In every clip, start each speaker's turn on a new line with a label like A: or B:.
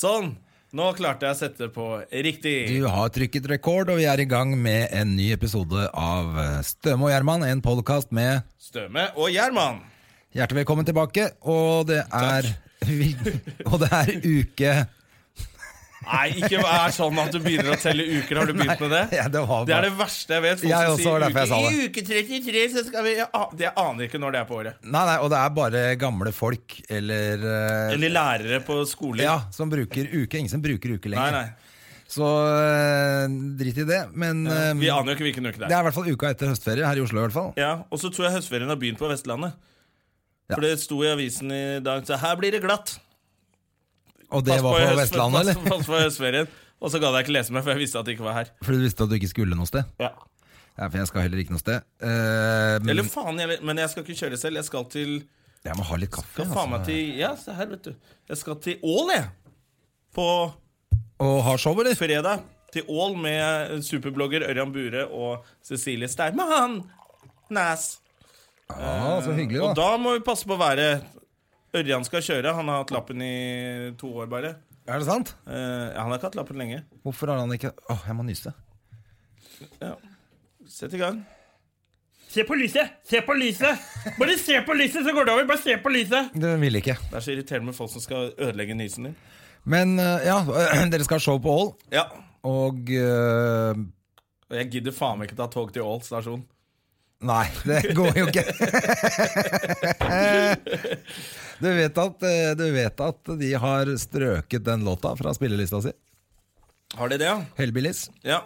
A: Sånn. Nå klarte jeg å sette på riktig.
B: Du har trykket rekord, og vi er i gang med en ny episode av eh, Støme og Gjerman, en podkast med
A: Støme og Gjerman.
B: hjertelig velkommen tilbake. Og det er, og det er uke
A: Nei, ikke vær sånn at du begynner å telle uker. Har du begynt med det?
B: ja, det var
A: Det er
B: bare-
A: det verste jeg vet. Folk
B: Jeg
A: som
B: også,
A: sier
B: var derfor jeg
A: uke-
B: sa det.
A: I uke 33 så skal vi jeg, an- Jeg aner ikke når det er på året.
B: Nei, nei, og det er bare gamle folk eller eh,
A: Eller lærere på skoler.
B: ja, som bruker uke. Ingen som bruker uke
A: Nei,
B: lenger.
A: nei.
B: Så eh, drit i det. Men eh,
A: Vi aner jo ikke hvilken uke det
B: det
A: er.
B: er i hvert fall uka etter høstferie her i Oslo. i hvert fall
A: Ja, Og så tror jeg høstferien har begynt på Vestlandet. For det sto i avisen i dag så her blir det glatt.
B: Og det
A: Pass
B: var
A: i
B: på
A: høst-
B: Vestlandet,
A: pass-
B: eller?
A: Pass på høstferien. Og så gadd jeg ikke lese mer, for jeg visste at det ikke var her.
B: Fordi du visste at du ikke skulle noe sted?
A: Ja.
B: Ja, for jeg skal heller ikke noe sted. Eh, men
A: Eller faen, jeg, men jeg skal ikke kjøre selv. Jeg skal til
B: jeg må ha litt kaffe. altså.
A: skal faen meg til Ja, se her, vet du. Jeg skal til Ål, jeg. På
B: Og ha show, eller?
A: fredag. Til Ål med superblogger Ørjan Bure og Cecilie Steinmann. Næs.
B: Ja, så hyggelig,
A: Og
B: da.
A: da må vi passe på været. Ørjan skal kjøre. Han har hatt lappen i to år, bare.
B: Er det sant?
A: Eh, ja, han har ikke hatt lappen lenge.
B: Hvorfor har han ikke Åh, jeg må nyse.
A: Ja. Sett i gang. Se på lyset! Se på lyset! Bare se på lyset, så går det over. Bare se på lyset!
B: Det vil ikke.
A: Det er så irriterende med folk som skal ødelegge nysen din.
B: Men eh, ja, dere skal ha show på Ål,
A: Ja.
B: og eh,
A: Og jeg gidder faen meg ikke ta tog til Ål stasjon.
B: Nei, det går jo ikke. du, vet at, eh, du vet at de har strøket den låta fra spillelista si.
A: Har de det, ja?
B: Hellbillies.
A: Ja.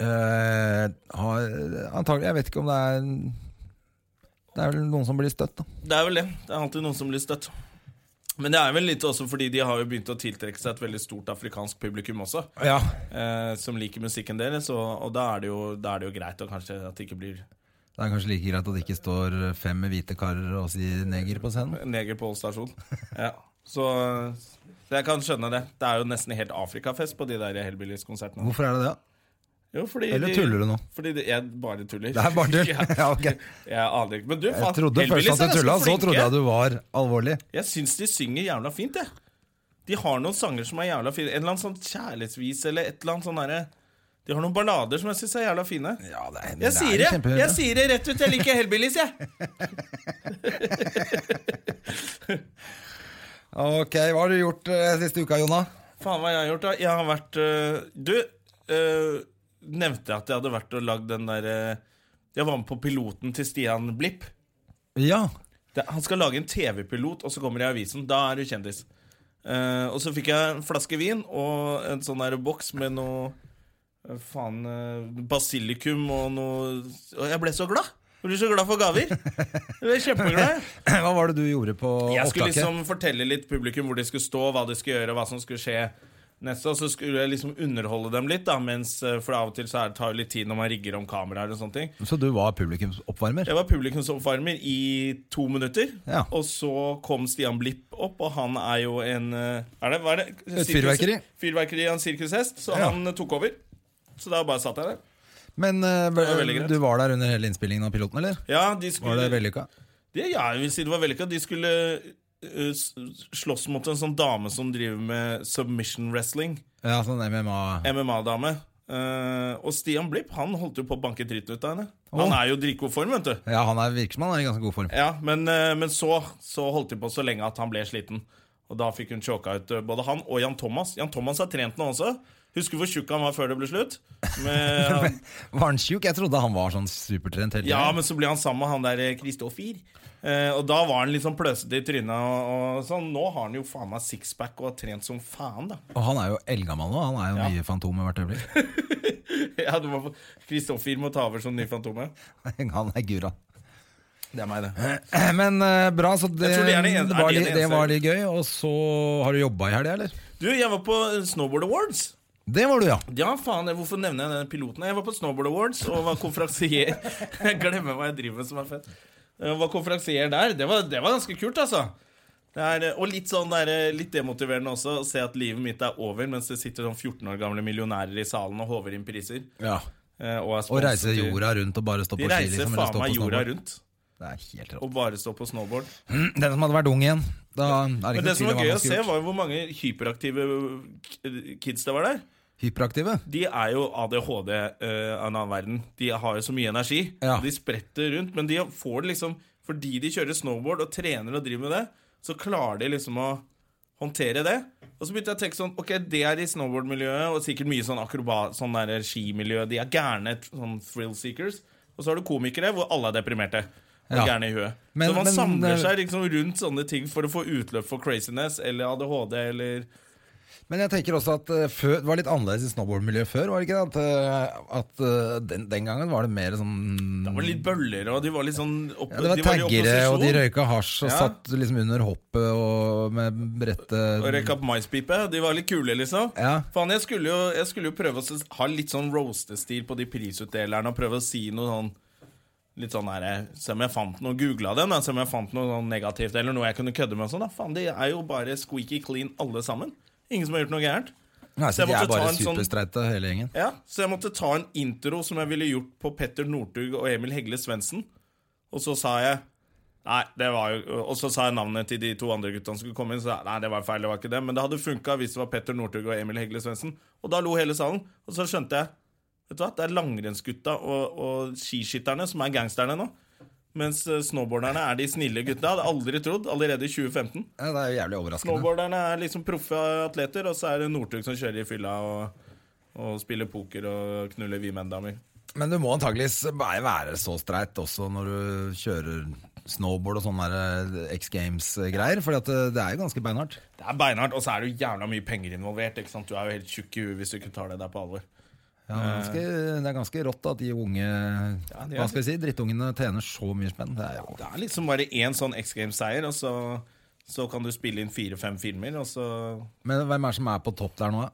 B: Eh, har, antagelig, jeg vet ikke om det er Det er vel noen som blir støtt, da.
A: Det er vel det. Det er alltid noen som blir støtt. Men det er vel litt også fordi de har jo begynt å tiltrekke seg et veldig stort afrikansk publikum også.
B: Ja,
A: Eh, som liker musikken deres, og, og da, er det jo, da er det jo greit å kanskje at det ikke blir
B: Det er kanskje like greit at det ikke står fem hvite karer og sier neger på scenen.
A: neger på Ål stasjon. Ja. Så, så jeg kan skjønne det. Det er jo nesten helt Afrikafest på de der Hellbillies-konsertene.
B: Hvorfor er det det?
A: Jo, fordi
B: Eller
A: de-
B: tuller du nå?
A: Fordi de, jeg bare tuller.
B: Det er bare tull.
A: jeg,
B: Ja, ok.
A: jeg aner ikke. Men du, faen,
B: Jeg trodde
A: Hellbillies
B: først at
A: Ah, er
B: du
A: ganske
B: tulla, så
A: flinke.
B: trodde jeg du var alvorlig.
A: Jeg syns de synger jævla fint, jeg. De har noen sanger som er jævla fine. En eller annen sånn kjærlighetsvis eller et eller annet sånn derre De har noen ballader som jeg syns er jævla fine.
B: Ja, det er,
A: Jeg sier det! Jeg sier det rett ut. Jeg liker Hellbillies, jeg.
B: Ok, Hva har du gjort eh, siste uka, Jonna?
A: Faen, hva jeg har gjort, da? Jeg har vært øh, Du, øh, nevnte jeg at jeg hadde vært og lagd den derre Jeg var med på piloten til Stian Blipp.
B: Ja,
A: Det, han skal lage en TV-pilot, og så kommer det i avisen. Da er du kjendis. Eh, og så fikk jeg en flaske vin og en sånn der boks med noe eh, Faen eh, Basilikum og noe Og jeg ble så glad! Jeg ble så glad for gaver. Jeg ble kjempeglad. jeg.
B: Hva var det du gjorde på
A: Jeg skulle
B: opptaket?
A: liksom fortelle litt publikum hvor de skulle stå, hva de skulle gjøre, hva som skulle skje. Neste, og så skulle jeg liksom underholde dem litt, da, mens, eh, for av og til så er, tar det litt tid når man rigger om kameraer og sånne ting.
B: Så du var publikumsoppvarmer?
A: Jeg var publikumsoppvarmer i to minutter,
B: Ja.
A: og så kom Stian Blipp opp, og han er jo en eh, er det, hva er det? Sirkus-
B: fyrverkeri.
A: Fyrverkeri av en sirkushest, så
B: Ja.
A: han eh, tok over. Så da bare satt jeg der.
B: Men eh,
A: var veldig greit.
B: du var der under hele innspillingen av piloten, eller?
A: Ja, de
B: Var
A: skulle,
B: det vellykka?
A: det, ja, jeg vil si det var vellykka. De skulle eh, s- slåss mot en sånn dame som driver med submission wrestling.
B: Ja, sånn MMA
A: MMA-dame. Eh, og Stian Blipp han holdt jo på å banke dritten ut av henne. Han er jo i dritgod form, vet du.
B: Ja, han er virksmann, han er i ganske god form.
A: Ja, men, eh, men så, så holdt de på så lenge at han ble sliten. Og da fikk hun choka ut eh, både han og Jan Thomas. Jan Thomas har trent nå også. Husker hvor tjukk han var før det ble slutt. Men, han,
B: Var han tjukk? Jeg trodde han var sånn supertrent hele
A: ja,
B: tiden.
A: men så ble han sammen med han der eh, Kristoffer. Eh, og da var han litt sånn pløsete i trynet. Og, og sånn. Nå har han jo faen meg sixpack og har trent som faen, da.
B: Og han er jo eldgammel nå. Han er jo nye Fantomet hvert øyeblikk.
A: Ja, det var- Kristoffer må ta over som ny Fantomet.
B: Han er gura.
A: Det er meg, det.
B: Men eh, bra, så det,
A: Jeg tror det er det eneste-
B: det var
A: er det
B: litt-
A: det
B: det
A: eneste
B: var
A: jeg
B: litt gøy. Og så har du jobba i helga, eller?
A: Du, jeg var på Snowboard Awards.
B: Det var du, ja.
A: Ja, faen, jeg- hvorfor nevner jeg den piloten? Jeg var på Snowboard Awards og var konferansier. Jeg glemmer hva jeg driver med som er fett. Jeg var konferansier der. Det var, det var ganske kult, altså. Det er, og litt sånn der, litt demotiverende også å se at livet mitt er over mens det sitter sånn 14 år gamle millionærer i salen og håver inn priser. eh, Og, er
B: Og
A: sponset
B: reise
A: til-
B: jorda rundt og bare stå
A: De
B: på ski.
A: reiser
B: Liksom, eller
A: faen
B: stå på
A: meg jorda
B: snowboard.
A: rundt
B: Det er helt rått.
A: og bare står på snowboard.
B: Den som hadde vært ung igjen. Da er det
A: Men
B: ikke
A: det
B: noe
A: som
B: tvil om
A: var
B: hva
A: gøy
B: man
A: å se,
B: skulle gjort.
A: var jo hvor mange hyperaktive k- kids det var der.
B: Hyperaktive.
A: De er jo ADHD eh, av en annen verden. De har jo så mye energi.
B: Ja.
A: De spretter rundt, men de får det liksom Fordi de kjører snowboard og trener og driver med det, så klarer de liksom å håndtere det. Og så begynte jeg å tenke sånn Ok, det er i snowboardmiljøet, og sikkert mye sånn akrobat, sånn der skimiljø. De er gærne sånn thrill seekers. Og så har du komikere hvor alle er deprimerte. Og
B: Ja.
A: gærne i huet.
B: Men-
A: så man
B: men- eh,
A: samler seg liksom rundt sånne ting for å få utløp for craziness eller ADHD eller
B: Men jeg tenker også at eh, før, det var litt annerledes i snowboardmiljøet før. var det ikke det? At, eh, at eh, den, den gangen var det mer sånn
A: Det var litt bøller, og de var litt sånn opp,
B: ja, det var
A: de i
B: taggere, og de
A: opposisjon.
B: røyka hasj og
A: Ja.
B: satt liksom under hoppet og med brettet
A: Og røyka opp maispipe. De var litt kule, liksom.
B: Ja.
A: Faen, jeg skulle jo, jeg skulle jo prøve å s- ha litt sånn roastestil på de prisutdelerne og prøve å si noe sånn Litt sånn her, Se om jeg fant noe, googla dem, da, se om jeg fant noe sånn negativt eller noe jeg kunne kødde med. og sånn da Faen, de er jo bare squeaky clean alle sammen. Ingen som har gjort noe gærent.
B: Nei,
A: Så
B: så
A: jeg
B: de
A: måtte
B: er bare
A: ta en sånn-
B: superstreite, hele gjengen.
A: Ja, Så jeg måtte ta en intro som jeg ville gjort på Petter Northug og Emil Hegle Svendsen. Og så sa jeg Nei, det var jo Og så sa jeg navnet til de to andre gutta som skulle komme inn. Så sa jeg, nei, det var feil, det var ikke det. Men det hadde funka hvis det var Petter Northug og Emil Hegle Svendsen. Og da lo hele salen. Og så skjønte jeg Vet du hva, det er langrennsgutta og, og skiskytterne som er gangsterne nå. Mens eh, snowboarderne er de snille gutta. Hadde aldri trodd. Allerede i 2015.
B: Ja, det er jo jævlig overraskende.
A: Snowboarderne er liksom proffe atleter, og så er det Northug som kjører i fylla og, og spiller poker og knuller vi menn-damer.
B: Men du må antageligvis bare være så streit også når du kjører snowboard og sånne der, eh, X Games-greier, for eh, det er jo ganske beinhardt.
A: Det er beinhardt, og så er det jo jævla mye penger involvert. ikke sant? Du er jo helt tjukk i huet hvis du ikke tar det der på alvor.
B: Ja, det er ganske, det er ganske rått at de unge
A: de er-
B: Hva skal vi si, drittungene tjener så mye spenn. Det er jo
A: Det er liksom bare én sånn X Games-seier, og så, så kan du spille inn fire-fem filmer, og så
B: Men hvem er det som er på topp der nå? da?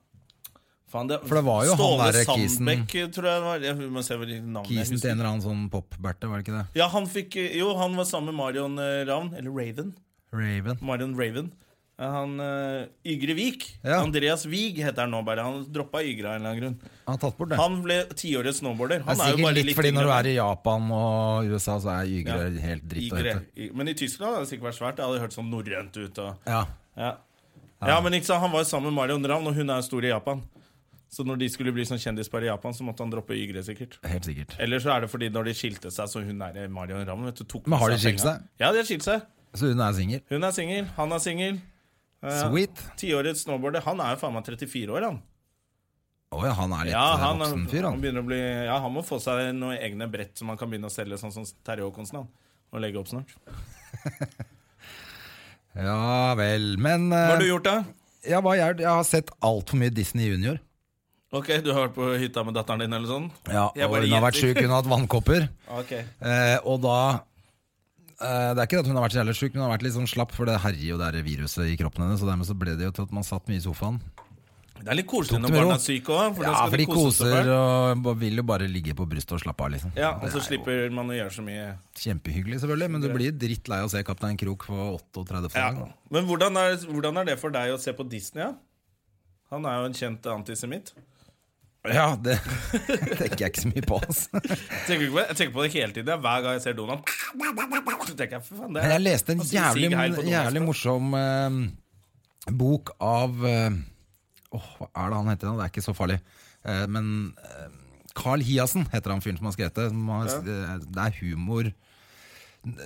A: Faen, det,
B: For det var jo
A: Ståle
B: han der Kisen-
A: Sandbekk, tror jeg det var. Jeg må se hva de navnene jeg
B: Kisen
A: husker.
B: til en eller annen sånn pop-berte, var det ikke det?
A: Ja, han fikk Jo, han var sammen med Marion eh, Ravn, eller Raven.
B: Raven.
A: Marion Raven. Eh, Han eh, Ygre Vik.
B: Ja.
A: Andreas Wiig heter han nå bare. Han droppa Ygra av en eller annen grunn.
B: Han har tatt bort det.
A: Han ble tiårets snowboarder.
B: det
A: Han
B: er
A: er jo
B: sikkert
A: bare
B: litt,
A: litt
B: fordi når du er i Japan og USA, så er ygre helt dritt å
A: Ygre.
B: hete.
A: Y- Men i Tyskland hadde det sikkert vært svært. Det hadde hørt sånn norrønt ut. Og,
B: Ja.
A: ja. ja, men ikke sant, Han var jo sammen med Marion Ravn, og hun er jo stor i Japan. Så når de skulle bli sånn kjendispar i Japan, så måtte han droppe Ygre, sikkert.
B: Helt sikkert.
A: Eller så er det fordi når de skilte seg, så hun er Marion Ravn. Vet du, tok
B: Men
A: med
B: har de skilt
A: penga.
B: seg?
A: Ja, de har skilt seg.
B: Så hun er singel.
A: Hun er singel, han er singel. Eh,
B: Sweet.
A: Tiårets snowboarder. Han er jo faen meg 34 år, han.
B: Å ja, han er litt
A: Ja,
B: eh,
A: han,
B: voksen fyr,
A: han
B: han.
A: begynner å bli Ja, han må få seg noen egne brett som han kan begynne å selge, sånn som Terje Håkonsen. han, Og legge opp snart.
B: Eh. Ja vel. Men eh,
A: Hva har du gjort, da?
B: jeg, var, jeg, jeg har sett altfor mye Disney Junior.
A: Ok, Du har vært på hytta med datteren din, eller sånn?
B: Ja,
A: Jeg
B: og
A: bare
B: hun har vært
A: gjetter.
B: sjuk, hun har hatt vannkopper.
A: Ok
B: Eh, og da eh, Det er ikke det at hun har vært så jævlig sjuk, men hun har vært litt sånn slapp, for det herjer jo det her viruset i kroppen hennes. Og dermed så ble det jo til at man satt mye i sofaen.
A: Det er litt
B: Tok
A: koselig
B: det
A: når
B: med
A: barna
B: ro.
A: er syke òg. For da
B: Ja,
A: skal
B: for de
A: seg
B: koser
A: fælt.
B: og ba- vil jo bare ligge på brystet og slappe av, liksom.
A: Ja, Og
B: Det
A: så
B: er jo
A: slipper man å gjøre så mye.
B: Kjempehyggelig, selvfølgelig, men du blir drittlei av å se Kaptein Krok på 38.
A: Ja.
B: gang. da.
A: Men hvordan er, hvordan er det for deg å se på Disney? Ja? Han er jo en kjent antisemitt.
B: Ja, det tenker jeg ikke så mye på, altså.
A: Jeg tenker ikke på det, jeg tenker på det hele tiden. ja. Hver gang jeg ser Donald Så tenker jeg, for faen, det
B: Men jeg leste en
A: Altså,
B: jævlig,
A: Sig Heil på Donald.
B: jævlig morsom eh, bok av eh, Åh, hva er det han heter? nå? Det er ikke så farlig. Eh, men eh, Carl Hiassen heter han fyren som har skrevet det. Som har, eh, Det er humor,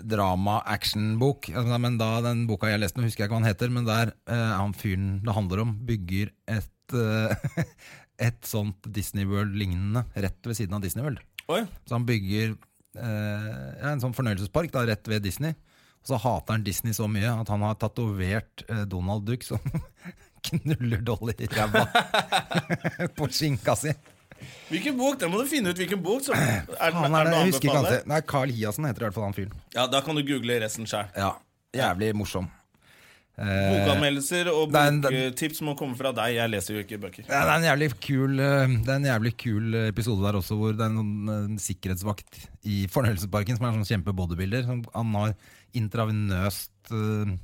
B: drama, actionbok. Altså, nei, Men da den boka jeg leste, nå husker jeg ikke hva han heter, men der eh, han fyren det handler om, bygger et eh, et sånt Disney World-lignende rett ved siden av Disney World.
A: Oi,
B: Så han bygger eh, ja, en sånn fornøyelsespark da, rett ved Disney. Og så hater han Disney så mye at han har tatovert eh, Donald Duck som knuller Dolly i ræva på skinka si.
A: Hvilken bok? Den må du finne ut hvilken bok. Så er den, er
B: Han er
A: den
B: det,
A: å
B: jeg husker ikke
A: anbefale?
B: annet. Nei, Carl Hiassen heter i hvert fall han fyren.
A: Ja, Da kan du google resten sjøl.
B: Ja, Jævlig morsom. Eh,
A: Bokanmeldelser og
B: det er en-
A: boktips må komme fra deg. Jeg leser jo ikke bøker.
B: Ja, det er en jævlig kul eh, Det er en jævlig kul eh, episode der også, hvor det er en, en sikkerhetsvakt i fornøyelsesparken som er en sånn kjempebodybuilder. som- Han har intravenøst eh,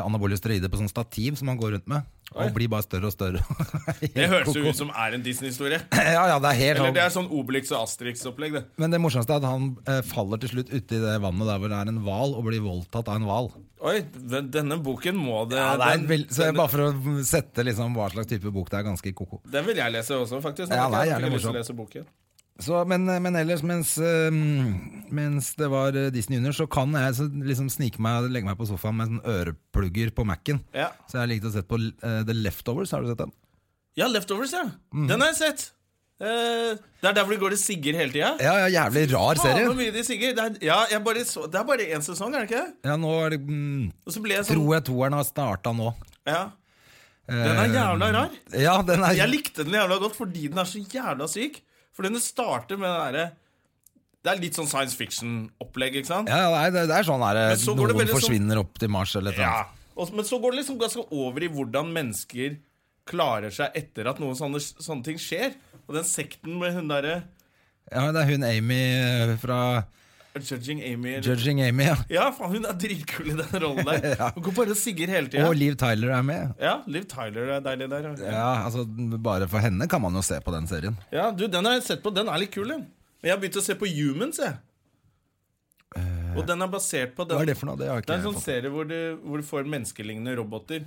B: anabole steroider på sånn stativ som han går rundt med. Og blir bare større og større.
A: Det høres jo ut som er en Disney-historie.
B: Ja, ja, det er helt sånn.
A: Eller det er sånn Obelix og Asterix-opplegg. det
B: Men det morsomste er at han eh, faller til slutt uti det vannet der hvor det er en hval, og blir voldtatt av en hval.
A: Oi, den- denne boken må det
B: Ja, det er en
A: den,
B: vel- så
A: den,
B: Bare for å sette liksom hva slags type bok det er, ganske koko.
A: den vil jeg lese også, faktisk.
B: Ja, det er
A: Jeg har
B: jævlig
A: ikke lyst til å
B: morsomt.
A: lese boken.
B: Så, men, men ellers, mens, eh, mens det var eh, Disney under, så kan jeg så liksom snike meg og legge meg på sofaen med sånn øreplugger på Mac-en.
A: Ja.
B: Så jeg likte å sette på eh, The Leftovers. Har du sett den?
A: Ja, Leftovers, ja.
B: Mm.
A: Den har jeg sett. Eh, det er der hvor de går til Sigger hele tida.
B: Ja, ja, Jævlig rar
A: Faen,
B: serie.
A: hvor mye de sigger. Det er, ja, jeg bare så, det er bare én sesong, er det ikke? det?
B: Ja, nå er det, mm,
A: Og så ble jeg sånn
B: tror jeg toeren har starta nå.
A: ja. Den er jævla rar.
B: Ja, den er
A: Jeg likte den jævla godt fordi den er så jævla syk. For den starter med det derre Det er litt sånn science fiction-opplegg, ikke sant?
B: Ja, ja, nei, det, det er sånn her eh,
A: Men så går det
B: Noen
A: veldig sånn-
B: forsvinner opp til Mars eller et eller annet.
A: Og, men så går det liksom ganske over i hvordan mennesker klarer seg etter at noen sånne, sånne ting skjer. Og den sekten med hun derre
B: Ja, men det er hun Amy eh, fra
A: Judging Amy eller-
B: Judging Amy, ja.
A: Ja, faen, hun er dritkul i den rollen der. Hun går bare og sigger hele tida.
B: Og Liv Tyler er med.
A: Ja, Liv Tyler er deilig der. Ja.
B: Ja, altså Bare for henne kan man jo se på den serien.
A: ja, du, Den har jeg sett på. Den er litt kul, den. Men jeg har begynt å se på Humans, jeg. Og den er basert på den
B: Eh, Hva er det for noe? Det har jeg
A: Det
B: ikke
A: er en sånn
B: fått.
A: serie hvor du, hvor du får menneskelignende roboter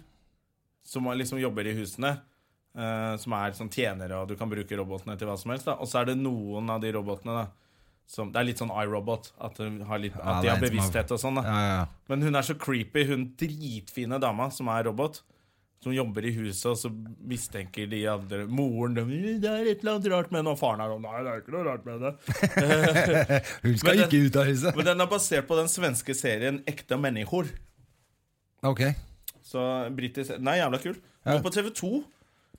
A: som er- liksom jobber i husene. eh, som er sånn tjenere, og du kan bruke robotene til hva som helst. Da. Og så er det noen av de robotene da, som Det er litt sånn iRobot. At, de har litt-
B: Ja,
A: at
B: det er en som
A: de har
B: har-
A: bevissthet og sånn. Da.
B: Ja, ja, ja.
A: Men hun er så creepy, hun dritfine dama som er robot. Som jobber i huset, og så mistenker de andre moren dem, Det er et eller annet rart med henne. Og faren er sånn Nei, det er ikke noe rart med det.
B: Hun skal
A: Men det-
B: ikke ut av huset.
A: Men den er basert på den svenske serien Ekte mennesker.
B: Ok,
A: Så britisk Den er jævla kul. Nå
B: Ja.
A: på TV2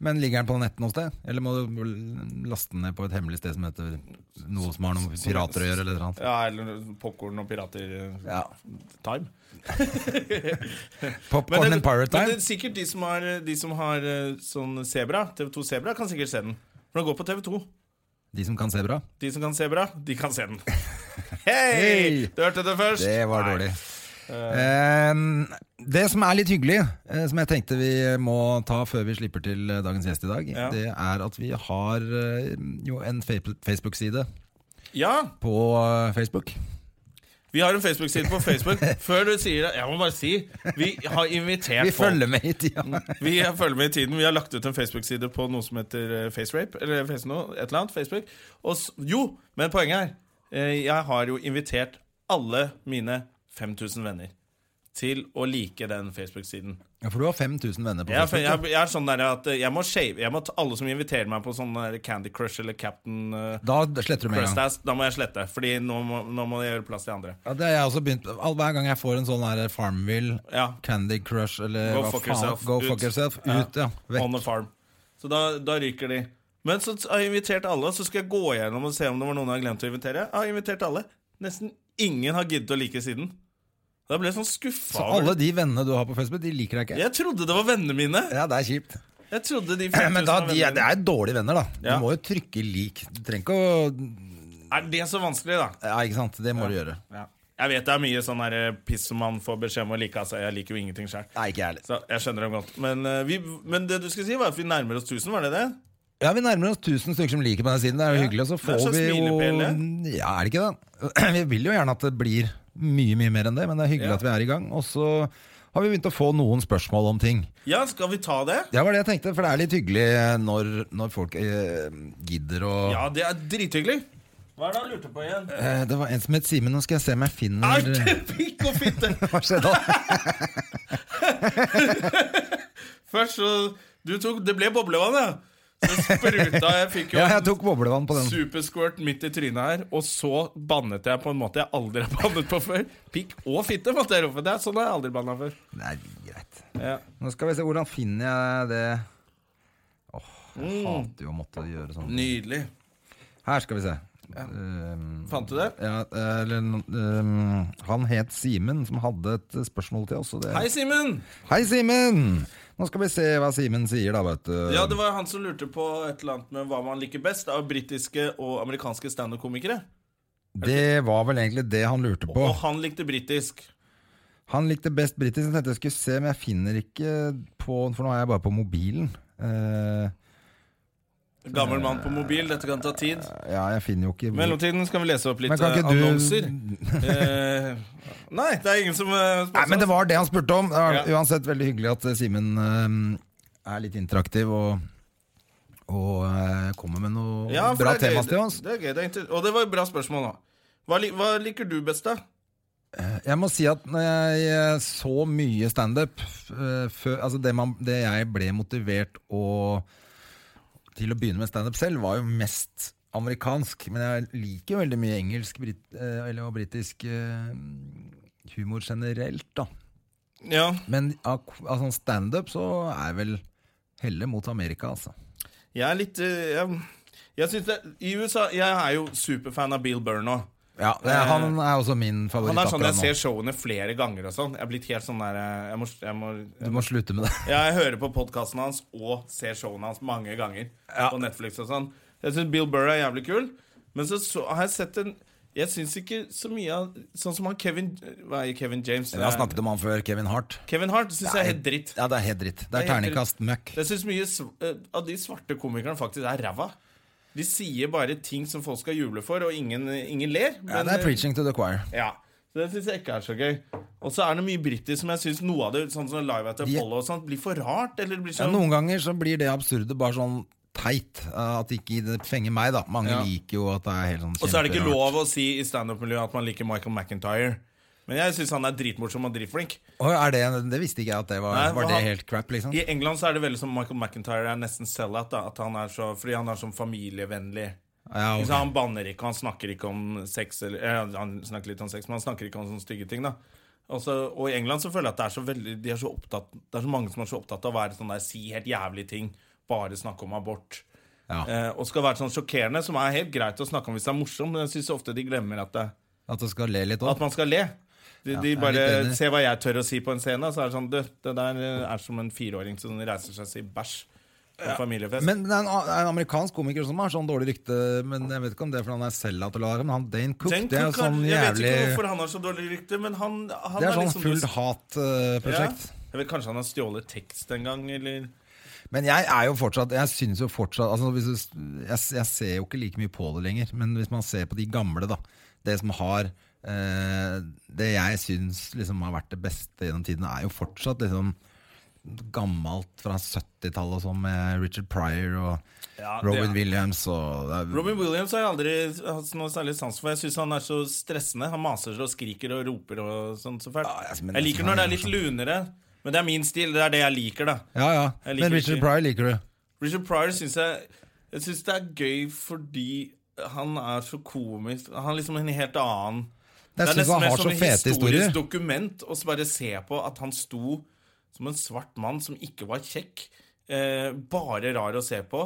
B: Men ligger den på netten noe sted? Eller må du laste den ned på et hemmelig sted som heter noe som har noe med pirater å gjøre? eller et eller annet?
A: Ja, eller popkorn og pirater eh,
B: Ja.
A: Time. Men
B: Popcorn
A: det-
B: and Pirate
A: Men
B: Time?
A: det er sikkert de som har, de som har eh, sånn Sebra, TV2 Sebra, kan sikkert se den. For den går på TV2.
B: De som kan se bra?
A: De som kan Sebra, de kan se den. Hei! Du hørte det først.
B: Det var
A: Nei.
B: dårlig. Ehm, det som er litt hyggelig, eh, som jeg tenkte vi må ta før vi slipper til eh, dagens gjest i dag,
A: Ja.
B: det er at vi har eh, jo en fe- Facebook-side
A: Ja,
B: på eh, Facebook.
A: vi har en Facebook-side på Facebook. Før du sier det, jeg må bare si Vi har invitert
B: Vi
A: folk.
B: følger med i tida.
A: Vi følger med i tiden. Vi har lagt ut en Facebook-side på noe som heter eh, FaceRape. Eller face no, et eller annet. Facebook. Og, s- jo, men poenget er eh, Jeg har jo invitert alle mine 5000 venner til å like den Facebook-siden.
B: Ja, for du har 5000 venner på
A: Jeg, er-
B: Facebook.
A: jeg, jeg er sånn der at eh, jeg må shave jeg må ta Alle som inviterer meg på sånn der Candy Crush eller Captain eh,
B: Da sletter du med en gang.
A: Crustass, da må jeg slette. Fordi nå må, nå må jeg gjøre plass til andre.
B: Ja, det har jeg også begynt all- Hver gang jeg får en sånn her Farmville,
A: Ja.
B: Candy Crush eller
A: Go
B: Eh, hva
A: fuck
B: faen-
A: yourself.
B: Go
A: Ut.
B: fuck yourself.
A: Ja.
B: Ut, ja.
A: On
B: Vekk.
A: the farm. Så da, da ryker de. Men så har jeg invitert alle, så skal jeg gå gjennom og se om det var noen jeg har glemt å invitere. Jeg har invitert alle. Nesten ingen har giddet å like siden. Da ble jeg sånn skuffa.
B: Så alle de vennene du har på Facebook, de liker deg ikke?
A: Jeg trodde det var vennene mine.
B: Ja, det er kjipt.
A: Jeg trodde de
B: Men da,
A: 5000 var
B: de er, det
A: vennene
B: er dårlige venner, da. Du
A: Ja.
B: må jo trykke lik. Du trenger ikke å
A: mine. Er det så vanskelig, da?
B: Ja, ikke sant? Det må du gjøre.
A: Jeg vet det er mye sånn her, eh, piss som man får beskjed om å like. Altså, jeg liker jo ingenting sjøl.
B: Nei, ikke jeg heller.
A: Så jeg skjønner dem godt. Men, eh, vi, men det du skulle si, var at vi nærmer oss 1000, var det det?
B: Ja, vi nærmer oss 1000 stykker som liker på den siden. Det er jo hyggelig. Og så
A: Det er
B: får vi
A: en slags
B: jo
A: milepæl,
B: Ja, er det ikke det? Vi vil jo gjerne at det blir mye, mye mer enn det, men det er hyggelig
A: Ja.
B: at vi er i gang. Og så har vi begynt å få noen spørsmål om ting.
A: Ja, skal vi ta det?
B: Det var det jeg tenkte, for det er litt hyggelig når, når folk eh, gidder å
A: Ja, det er drithyggelig. Hva er det han lurte på igjen?
B: eh, Det var en som het Simen, nå skal jeg se om jeg
A: Er
B: finner
A: det pikk og fitte?
B: Hva skjedde da?
A: Først så du tok, Det ble boblevann, ja. Så spruta jeg. Fikk jo
B: Ja, jeg tok boblevann på den.
A: supersquirt midt i trynet her. Og så bannet jeg på en måte jeg aldri har bannet på før. Pikk og fitte, måtte jeg rope. Det er sånn har jeg aldri banna før.
B: Nei, greit.
A: Ja.
B: Nå skal vi se, hvordan finner jeg det
A: Mm.
B: Jeg hater jo å måtte gjøre sånn.
A: Nydelig.
B: Her skal vi se. Um,
A: Fant du det?
B: ja, eller, um, han het Simen, som hadde et spørsmål til oss. og Det...
A: Hei, Simen!
B: Hei, Simen! Nå skal vi se hva Simen sier, da, vet du.
A: Ja, det var han som lurte på et eller annet med hva man liker best av britiske og amerikanske standup-komikere.
B: Det var vel egentlig det han lurte på.
A: Og han likte britisk.
B: Han likte best britisk. Jeg tenkte jeg skulle se, men jeg finner ikke på For nå er jeg bare på mobilen. Eh,
A: Gammel mann på mobil, dette kan ta tid.
B: ja, jeg finner jo ikke
A: I mellomtiden skal vi lese opp litt
B: Mm. Men kan
A: eh,
B: ikke du-
A: annonser. Eh, nei, det er ingen som eh,
B: Nei, men det var det han spurte om. Det var
A: Ja.
B: Uansett, veldig hyggelig at eh, Simen eh, er litt interaktiv og, og eh, kommer med noe
A: Ja, for
B: bra
A: det er
B: tema
A: gøy.
B: til oss.
A: Det er gøy, det er inter- Og det var et bra spørsmål, da. Hva, li hva liker du best, da?
B: Jeg må si at når jeg eh, så mye standup eh, før- altså det, man- det jeg ble motivert å, til å begynne med standup selv, var jo mest amerikansk. Men jeg liker jo veldig mye engelsk brit, eh, eller, og britisk eh, humor generelt, da.
A: Ja,
B: Men av k- av sånn standup så er jeg vel heller mot Amerika, altså.
A: jeg er litt eh, jeg, jeg synes det, I USA Jeg er jo superfan av Bill Burr nå.
B: Ja, det, er- han er også min favoritt
A: eh, Han er sånn
B: akkurat
A: jeg
B: nå.
A: ser showene flere ganger og sånn. Jeg er blitt helt sånn der eh, Jeg må, jeg må
B: Du må slutte med det.
A: Ja, jeg hører på podkasten hans og ser showene hans mange ganger. På Netflix og sånn. Jeg syns Bill Burr er jævlig kul, men så, så har jeg sett en Jeg syns ikke så mye av Sånn som han Kevin Hva er Kevin James?
B: Jeg har snakket om han før, Kevin Hart.
A: Kevin Hart syns jeg er helt dritt.
B: Ja, det er helt dritt. Det er
A: Det er helt dritt.
B: terningkast møkk.
A: Jeg syns mye sv- eh, av de svarte komikerne faktisk er ræva. De sier bare ting som folk skal juble for, og ingen, ingen ler.
B: Ja,
A: men- eh,
B: det er preaching to the choir.
A: Ja, så det syns jeg ikke er så gøy. Og så er det mye britisk som jeg syns noe av det Sånn som Live at Apollo og sånt, blir for rart. Eller det blir
B: Ja,
A: sånn
B: noen ganger så blir det absurde bare sånn teit. eh, At ikke det fenger meg, da. Mange
A: Ja.
B: liker jo at det er helt sånn
A: Og så er det ikke
B: kjemperart.
A: lov å si i standup-miljøet at man liker Michael McIntyre. Men jeg syns han er dritmorsom og dritflink.
B: Å, er det, det visste ikke jeg at det var,
A: Nei,
B: var det
A: han-
B: helt crap, liksom.
A: I England så er det veldig som Michael McIntyre er nesten sell-out. da, at han er så- Fordi han er sånn familievennlig.
B: Ja, ok.
A: Ikke sant, Han banner ikke, han snakker ikke om sex eller, eh, Han snakker litt om sex, men han snakker ikke om sånne stygge ting. da og, så, og i England så føler jeg at det er så veldig De er så opptatt Det er så mange som er så opptatt av å være sånn der si helt jævlige ting. Bare snakke om abort.
B: Ja.
A: Eh, og skal være sånn sjokkerende, som er helt greit å snakke om hvis det er morsomt, men jeg syns ofte de glemmer at det
B: At du skal le litt
A: At
B: òg.
A: man skal le. De,
B: jeg
A: de
B: er
A: bare
B: litt enig.
A: ser hva jeg tør å si på en scene. Så er det sånn Du, det der er som en fireåring som reiser seg og sier bæsj på en familiefest.
B: Men det er en, det er en amerikansk komiker som har sånn dårlig rykte. Men Jeg vet ikke om det er fordi han er sellout og lar men han Dane Cook
A: Den
B: Det er jo
A: koka-
B: sånn
A: jeg vet
B: jævlig
A: ikke hvorfor han har så dårlig rykte, men han, han
B: Det er sånn eh,
A: liksom-
B: full hat-prosjekt.
A: Ja. Jeg vet Kanskje han har stjålet tekst en gang, eller
B: Men jeg er jo fortsatt Jeg synes jo fortsatt altså hvis du, jeg, jeg ser jo ikke like mye på det lenger Men hvis man ser på de gamle da Det som har eh, Det jeg synes liksom har vært det beste gjennom tiden Er jo fortsatt liksom Gammelt fra 70-tallet og sånn Med Richard Pryor og
A: Ja, det
B: Robin
A: er-
B: Williams og, det er-
A: Robin Williams har jeg aldri hatt noe særlig sans for. Jeg syns han er så stressende. Han maser og skriker og roper og sånn så fælt.
B: Ja, jeg- men altså,
A: jeg
B: jeg-
A: liker når det er litt
B: sånn.
A: lunere, men det er min stil. Det er det jeg liker, da.
B: Ja, ja
A: Jeg liker
B: Men Richard
A: ikke-
B: Pryor liker du
A: Richard Pryor syns jeg Jeg synes det er gøy fordi han er så komisk. Han er liksom en helt annen
B: Jeg synes han har så
A: et
B: fete historier.
A: sånn dokument å bare se på at han sto som en svart mann som ikke var kjekk, eh, bare rar å se på.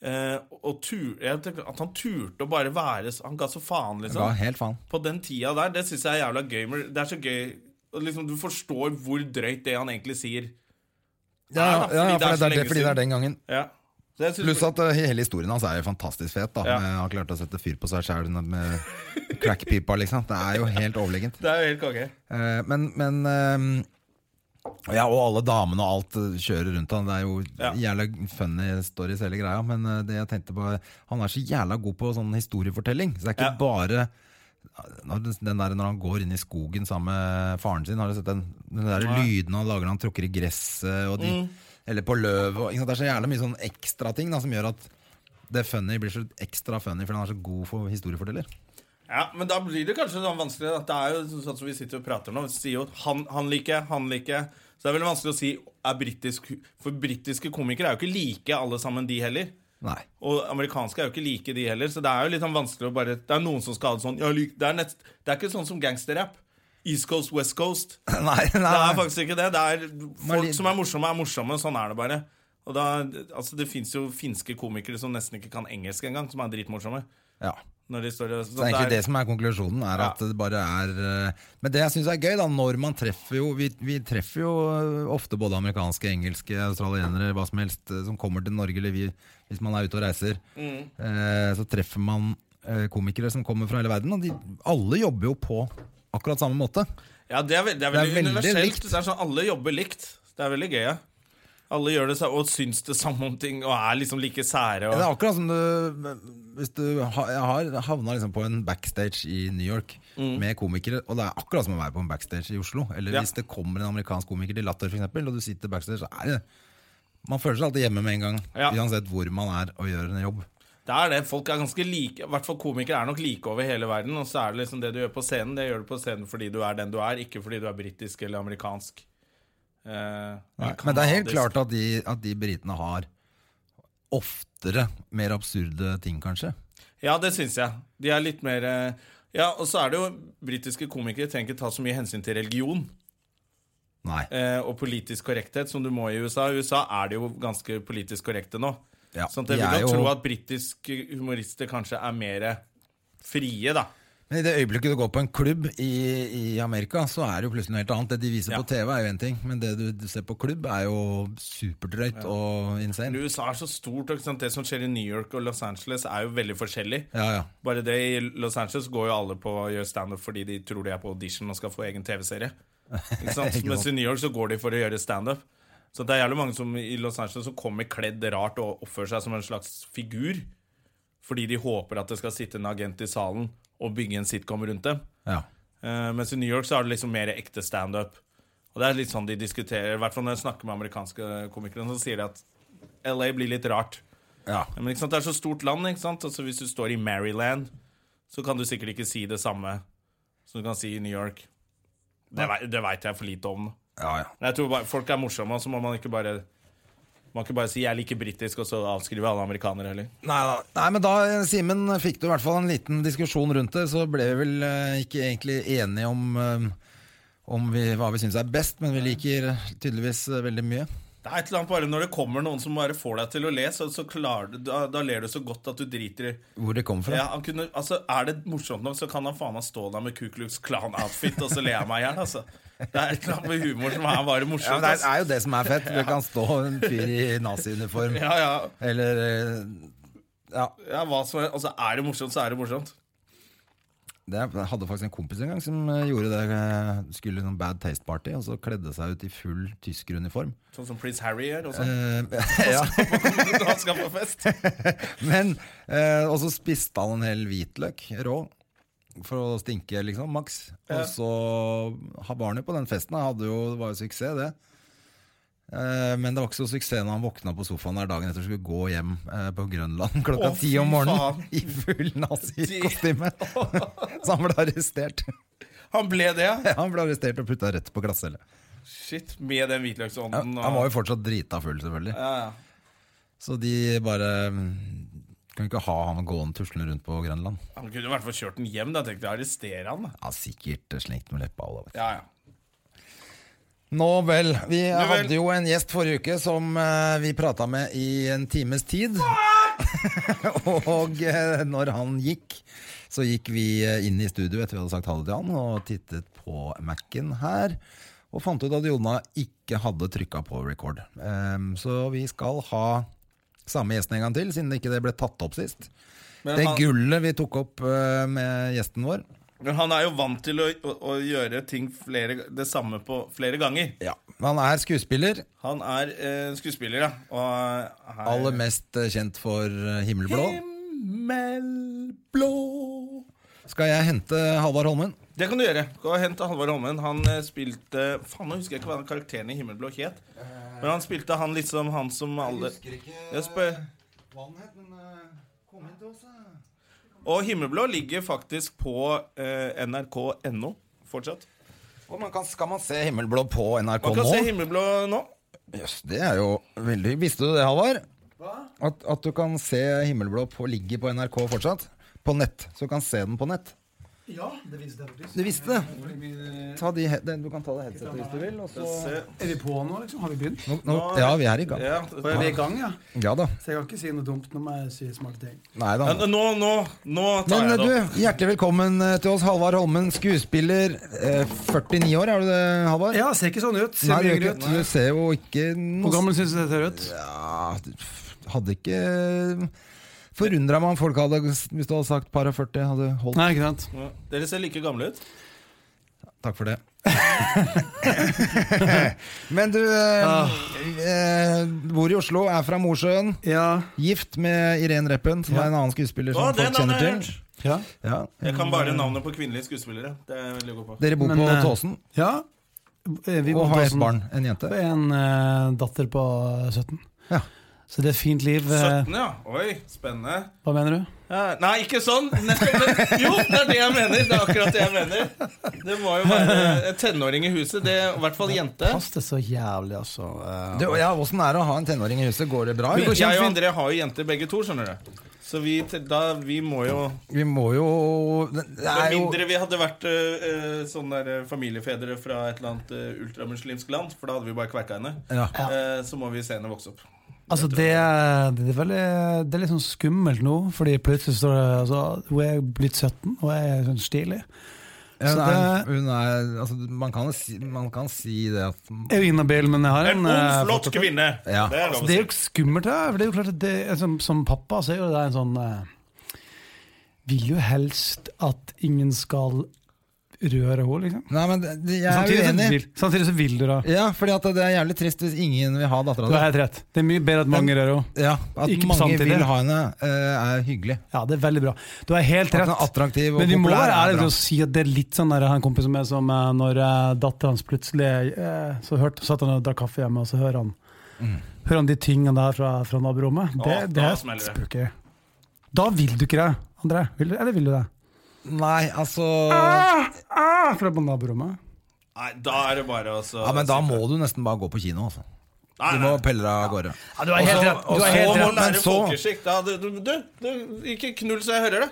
A: Eh, og tur, jeg tenker At han turte å bare være så- Han ga så faen, liksom.
B: Ja, helt faen
A: På den tida der. Det syns jeg er jævla gøy. men Det er så gøy og liksom, Du forstår hvor drøyt det han egentlig sier.
B: Ja, ja,
A: fordi
B: ja,
A: det er
B: for
A: så
B: det er, det, fordi
A: lenge
B: det
A: siden.
B: er den gangen
A: Ja. Så jeg synes-
B: Pluss at eh, hele historien hans er jo fantastisk fet. da
A: Ja.
B: Med- Han har klart å sette fyr på seg sjæl med crackpipa, liksom. Det er jo helt overlegent.
A: Det er jo helt konge.
B: Eh, Men, men eh, Ja, og alle damene og alt eh, kjører rundt han. Det er jo
A: Ja.
B: jævla funny stories, hele greia. Men eh, det jeg tenkte på han er så jævla god på sånn historiefortelling. Så det er ikke
A: Ja.
B: bare når den den der, når han går inn i skogen sammen med faren sin, har du sett den, den der lyden han lager når han tråkker i gresset, og de,
A: Mm.
B: eller på løv og, ikke sant? Det er så jævla mye sånn ekstra ting da, som gjør at det funny blir så ekstra funny fordi han er så god for historieforteller.
A: Ja, men da blir det kanskje sånn vanskelig at Det er jo sånn som vi sitter og prater nå. Vi sier jo han, han liker jeg, han liker jeg. Så det er veldig vanskelig å si er britisk For britiske komikere er jo ikke like alle sammen, de heller.
B: Nei.
A: Og amerikanske er jo ikke like, de heller. Så det er jo litt sånn vanskelig å bare Det er noen som skal ha det sånn. «Jeg lik- det, er nett, det er ikke sånn som gangsterrap. East Coast, West Coast.
B: nei, nei,
A: Det
B: nei.
A: er faktisk ikke det. Det er
B: Men
A: Folk
B: litt-
A: som er morsomme, er morsomme. Sånn er det bare. Og da, altså Det fins jo finske komikere som nesten ikke kan engelsk engang, som er dritmorsomme.
B: Ja.
A: Når de står og,
B: Så det er egentlig det som er konklusjonen. Er at det bare er eh, Men det jeg syns er gøy, da, når man treffer jo vi, vi treffer jo eh, ofte både amerikanske, engelske, australienere, hva som helst, eh, som kommer til Norge, eller vi, hvis man er ute og reiser. Eh, så treffer man eh, komikere som kommer fra hele verden, og de, alle jobber jo på akkurat samme måte.
A: Ja, det er, veld- det er veldig,
B: Det er veldig
A: universelt.
B: likt.
A: Det er sånn, Alle jobber likt. Det er veldig gøy. Ja. Alle gjør det sa- og syns det samme om ting og er liksom like sære.
B: Det er
A: Og,
B: akkurat som du Hvis du ha- jeg har havna liksom på en backstage i New York med komikere, og det er akkurat som å være på en backstage i Oslo. Eller
A: Mm. Ja.
B: hvis det kommer en amerikansk komiker til Latter, for eksempel, og du sitter backstage, så er det Man føler seg alltid hjemme med en gang,
A: Ja.
B: uansett hvor man er og gjør en jobb.
A: det er det. Folk er ganske like. I hvert fall komikere er nok like over hele verden. Og så er det liksom det du gjør på scenen, det gjør du på scenen fordi du er den du er, ikke fordi du er britisk eller amerikansk. Eh, eller
B: Men det er helt
A: kanadisk.
B: klart at de, at de britene har oftere mer absurde ting, kanskje.
A: Ja, det syns jeg. De er litt mer eh, Ja, og så er det jo britiske komikere trenger ikke ta så mye hensyn til religion.
B: Nei.
A: eh, og politisk korrekthet som du må i USA. I USA er de jo ganske politisk korrekte nå.
B: Ja,
A: sånn at jeg
B: de
A: vil
B: er
A: jo
B: jo-
A: tro at britiske humorister kanskje er mer frie, da.
B: Men I det øyeblikket du går på en klubb i, i Amerika, så er det jo plutselig noe helt annet. Det de viser
A: Ja.
B: på TV, er jo én ting, men det du, du ser på klubb, er jo superdrøyt og
A: Men
B: insane.
A: USA er så stort, og ikke sant? det som skjer i New York og Los Angeles, er jo veldig forskjellig.
B: Ja, ja.
A: Bare det i Los Angeles går jo alle på å gjøre standup fordi de tror de er på audition og skal få egen TV-serie. Ikke sant?
B: Ikke
A: Mens
B: sant.
A: i New York så går de for å gjøre standup. Så det er jævlig mange som i Los Angeles som kommer kledd rart og oppfører seg som en slags figur. Fordi de håper at det skal sitte en agent i salen og bygge en sitcom rundt dem.
B: ja.
A: Eh, mens i New York så er det liksom mer ekte standup. Og det er litt sånn de diskuterer. I hvert fall når jeg snakker med amerikanske komikere, så sier de at LA blir litt rart.
B: ja.
A: Ja, Men ikke sant, Det er så stort land. ikke sant? Altså Hvis du står i Maryland, så kan du sikkert ikke si det samme som du kan si i New York. Det, vei- det veit jeg for lite om.
B: ja, ja.
A: Men jeg tror bare, Folk er morsomme, og så må man ikke bare Man kan ikke bare si 'jeg liker britisk', og så avskrive alle amerikanere heller.
B: Nei, da. Nei, men da, Simen, fikk du i hvert fall en liten diskusjon rundt det. Så ble vi vel eh, ikke egentlig enige om, eh, om vi, hva vi syns er best, men vi liker tydeligvis eh, veldig mye.
A: Det er et eller annet bare Når det kommer noen som bare får deg til å le, så, så klarer du, da, da ler du så godt at du driter i
B: Hvor det kommer fra.
A: ja, han kunne, altså, Er det morsomt nok, så kan han faen meg stå der med Ku Klux Klan-outfit, og så ler jeg meg i hjel. Altså. Det er et eller annet med humor som er bare morsomt. altså.
B: Ja, men det
A: ass.
B: er, er jo det som er fett. Det kan stå en fyr i naziuniform,
A: ja, ja.
B: eller eh, Ja.
A: Ja, hva som er, altså Er det morsomt, så er det morsomt.
B: Det, jeg hadde faktisk en kompis en gang som eh, gjorde det. eh, Skulle i noen bad taste party, og så kledde seg ut i full tyskeruniform.
A: Sånn som Prince Harry gjør. Og sånn.
B: Eh, ja.
A: Han skal på fest.
B: Men, eh, og så spiste han en hel hvitløk rå. For å stinke, liksom. Maks. Og så ha- var han jo på den festen. Han hadde jo, det var jo suksess, det. Eh, Men det var ikke så suksess når han våkna på sofaen der dagen etter og skulle gå hjem eh, på Grønland klokka
A: Å,
B: ti
A: fy
B: om morgenen
A: faen.
B: i full nazikostyme. Så han ble arrestert.
A: Han ble det, ja.
B: Han ble arrestert og putta rett på glattcelle.
A: Shit, Med den hvitløksånden.
B: Han var jo fortsatt drita full, selvfølgelig. Så de bare mm, Kan ikke ha han gående tuslende rundt på Grønland.
A: Han kunne i hvert fall kjørt den hjem. da tenkte jeg arrestere han. da.
B: Ja, sikkert slengt med leppa. Olav.
A: Ja, ja.
B: Nå vel. Vi
A: vel.
B: hadde jo en gjest forrige uke som eh, vi prata med i en times tid. og eh, når han gikk, så gikk vi eh, inn i studio etter vi hadde sagt ha det til han, og tittet på Mac-en her. Og fant ut at Jonna ikke hadde trykka på record. Ehm, så vi skal ha samme gjesten en gang til, siden ikke det ble tatt opp sist.
A: Men
B: det
A: han-
B: gullet vi tok opp eh, med gjesten vår.
A: Men han er jo vant til å, å, å gjøre ting flere, det samme på flere ganger.
B: Han er skuespiller.
A: Han er eh, skuespiller, ja. Og her
B: Aller mest eh, kjent for eh, Himmelblå.
A: Himmelblå
B: Skal jeg hente Halvard Holmen?
A: Det kan du gjøre. Gå og hent Halvard Holmen. Han eh, spilte Faen, nå husker jeg ikke hva den karakteren i Himmelblå het. Men han spilte han litt som han som alle Jeg spør
B: eh,
A: Og Himmelblå ligger faktisk på eh, nrk.no fortsatt.
B: Og man kan, skal man se Himmelblå på NRK
A: Man
B: nå?
A: kan se Himmelblå nå.
B: Jøss, det er jo veldig Visste du det, Halvard? At, at du kan se Himmelblå på, ligge på NRK fortsatt? På nett. Så du kan se den på nett.
C: Ja, det visste jeg faktisk.
B: Du visste det?
C: Fordi vi-
B: Ta de, he- den- du kan ta det headsetet hvis du vil. Og så...
A: Se.
C: Er vi på nå, liksom? Har vi begynt?
B: Nå, nå, ja, vi er i gang.
A: Ja.
C: Og er vi i gang, ja?
B: Ja da.
C: Så jeg kan ikke si noe dumt når jeg sier smarte ting.
B: Nei da.
A: Ja, Nå, nå, nå tar
B: Men eh,
A: jeg det. opp.
B: du, hjertelig velkommen eh, til oss, Halvard Holmen, skuespiller. eh, 49 år, er du det, Halvard?
C: Ja, ser ikke sånn ut. Ser
B: Nei,
C: mye
B: du,
C: yngre
B: gjør ikke-
C: ut.
B: du ser jo ikke
C: Hvor
B: noe
C: gammel syns du det ser ut?
B: ja, Hadde ikke Forundra meg om folk hadde Hvis du hadde sagt par og 40, hadde holdt.
C: Nei, ikke sant?
A: Ja. Dere ser like gamle ut.
B: Takk for det. Men du eh, eh, bor i Oslo, er fra Mosjøen.
C: Ja.
B: Gift med Irene Reppen, som er sånn en annen skuespiller som
A: Å, det
B: folk kjenner
A: navnet har jeg
B: til.
A: hørt!
C: Ja.
B: Ja.
A: Jeg kan bare navnet på kvinnelige skuespillere. Det er jeg veldig god på.
B: Dere bor
C: Men,
B: på
C: eh,
B: Tåsen
C: ja. Eh, Vi
B: og
C: bodde
B: har
C: også-
B: et barn, en jente.
C: Det er en eh, datter på 17.
B: Ja.
C: Så det er et fint liv. eh,
A: 17, ja. Oi, spennende.
C: hva mener du?
A: Ja, nei, ikke sånn! Nettopp, men, jo, det er det jeg mener! Det er akkurat det jeg mener. Det må jo være en tenåring i huset. Det, I hvert fall jente.
C: Pass det så jævlig, altså. eh.
B: Du, ja, Åssen er det å ha en tenåring i huset? Går det bra?
A: Men
B: eller?
A: Jeg og André har jo jenter begge to, skjønner du. Så vi, te- da, vi må jo
B: Vi må jo Det
A: Med
B: er jo
A: mindre vi hadde vært øh, øh, sånne der, øh, familiefedre fra et eller annet øh, ultramuslimsk land, for da hadde vi bare kverka henne,
B: ja.
A: eh, så må vi se henne vokse opp.
C: Altså, det, er- det, er veldig, det er litt sånn skummelt nå, fordi plutselig står det altså, Hun er blitt 17, og jeg er sånn stilig.
B: Ja,
C: Så
B: hun er,
C: det-
B: hun er, altså, man, kan si, man kan si det at
C: Jeg er jo inhabil, men jeg har
A: En ung,
C: en eh,
A: flott
C: fotografi.
A: kvinne!
B: Ja.
A: Det er
C: Altså,
A: lov å
C: det er
A: si.
C: jo ikke skummelt, det. For det er jo klart at det, som, som pappa så er jo det en sånn eh, Vil jo helst at ingen skal røre henne, liksom.
B: Nei, men det- det- jeg
C: Samtidig
B: er
C: så,
B: uenig.
C: vil, samtidig så vil du da.
B: Ja, fordi at det er jævlig trist hvis ingen vil ha dattera
C: Du er
B: di.
C: helt rett. Det er mye bedre at mange rører henne.
B: Ja, at
C: Ikke på
B: mange
C: samtidig.
B: vil ha henne, eh, er hyggelig.
C: Ja, det er veldig bra. Du er helt
B: At hun
C: rett.
B: er attraktiv og
C: Men vi må
B: populær.
C: være
B: er
C: ærlige
B: bra.
C: til å si at det er litt sånn der, han kompisen min som eh, når eh, datteren hans plutselig eh, Så hørte, satt han og drakk kaffe hjemme, og så hører han,
B: Mm.
C: hører han de tingene der fra, fra naborommet. Det,
A: Å,
C: det
A: da
C: er
A: smeller det.
C: spooky. Da vil du ikke det, André. Vil du, eller vil du det?
B: Nei, altså
C: Ah, fra på naborommet.
A: Nei, da er det bare å så-
B: Ja, Men da må du nesten bare gå på kino, altså.
A: Nei,
B: Du
A: nei.
B: må pelle deg av gårde.
C: Ja, du er helt rett.
B: og
C: Du er
B: så
C: helt
B: må
C: rett.
B: men
A: Lære
B: så-
A: folkeskikk. Da, du, du, du, du, ikke knull så jeg hører det.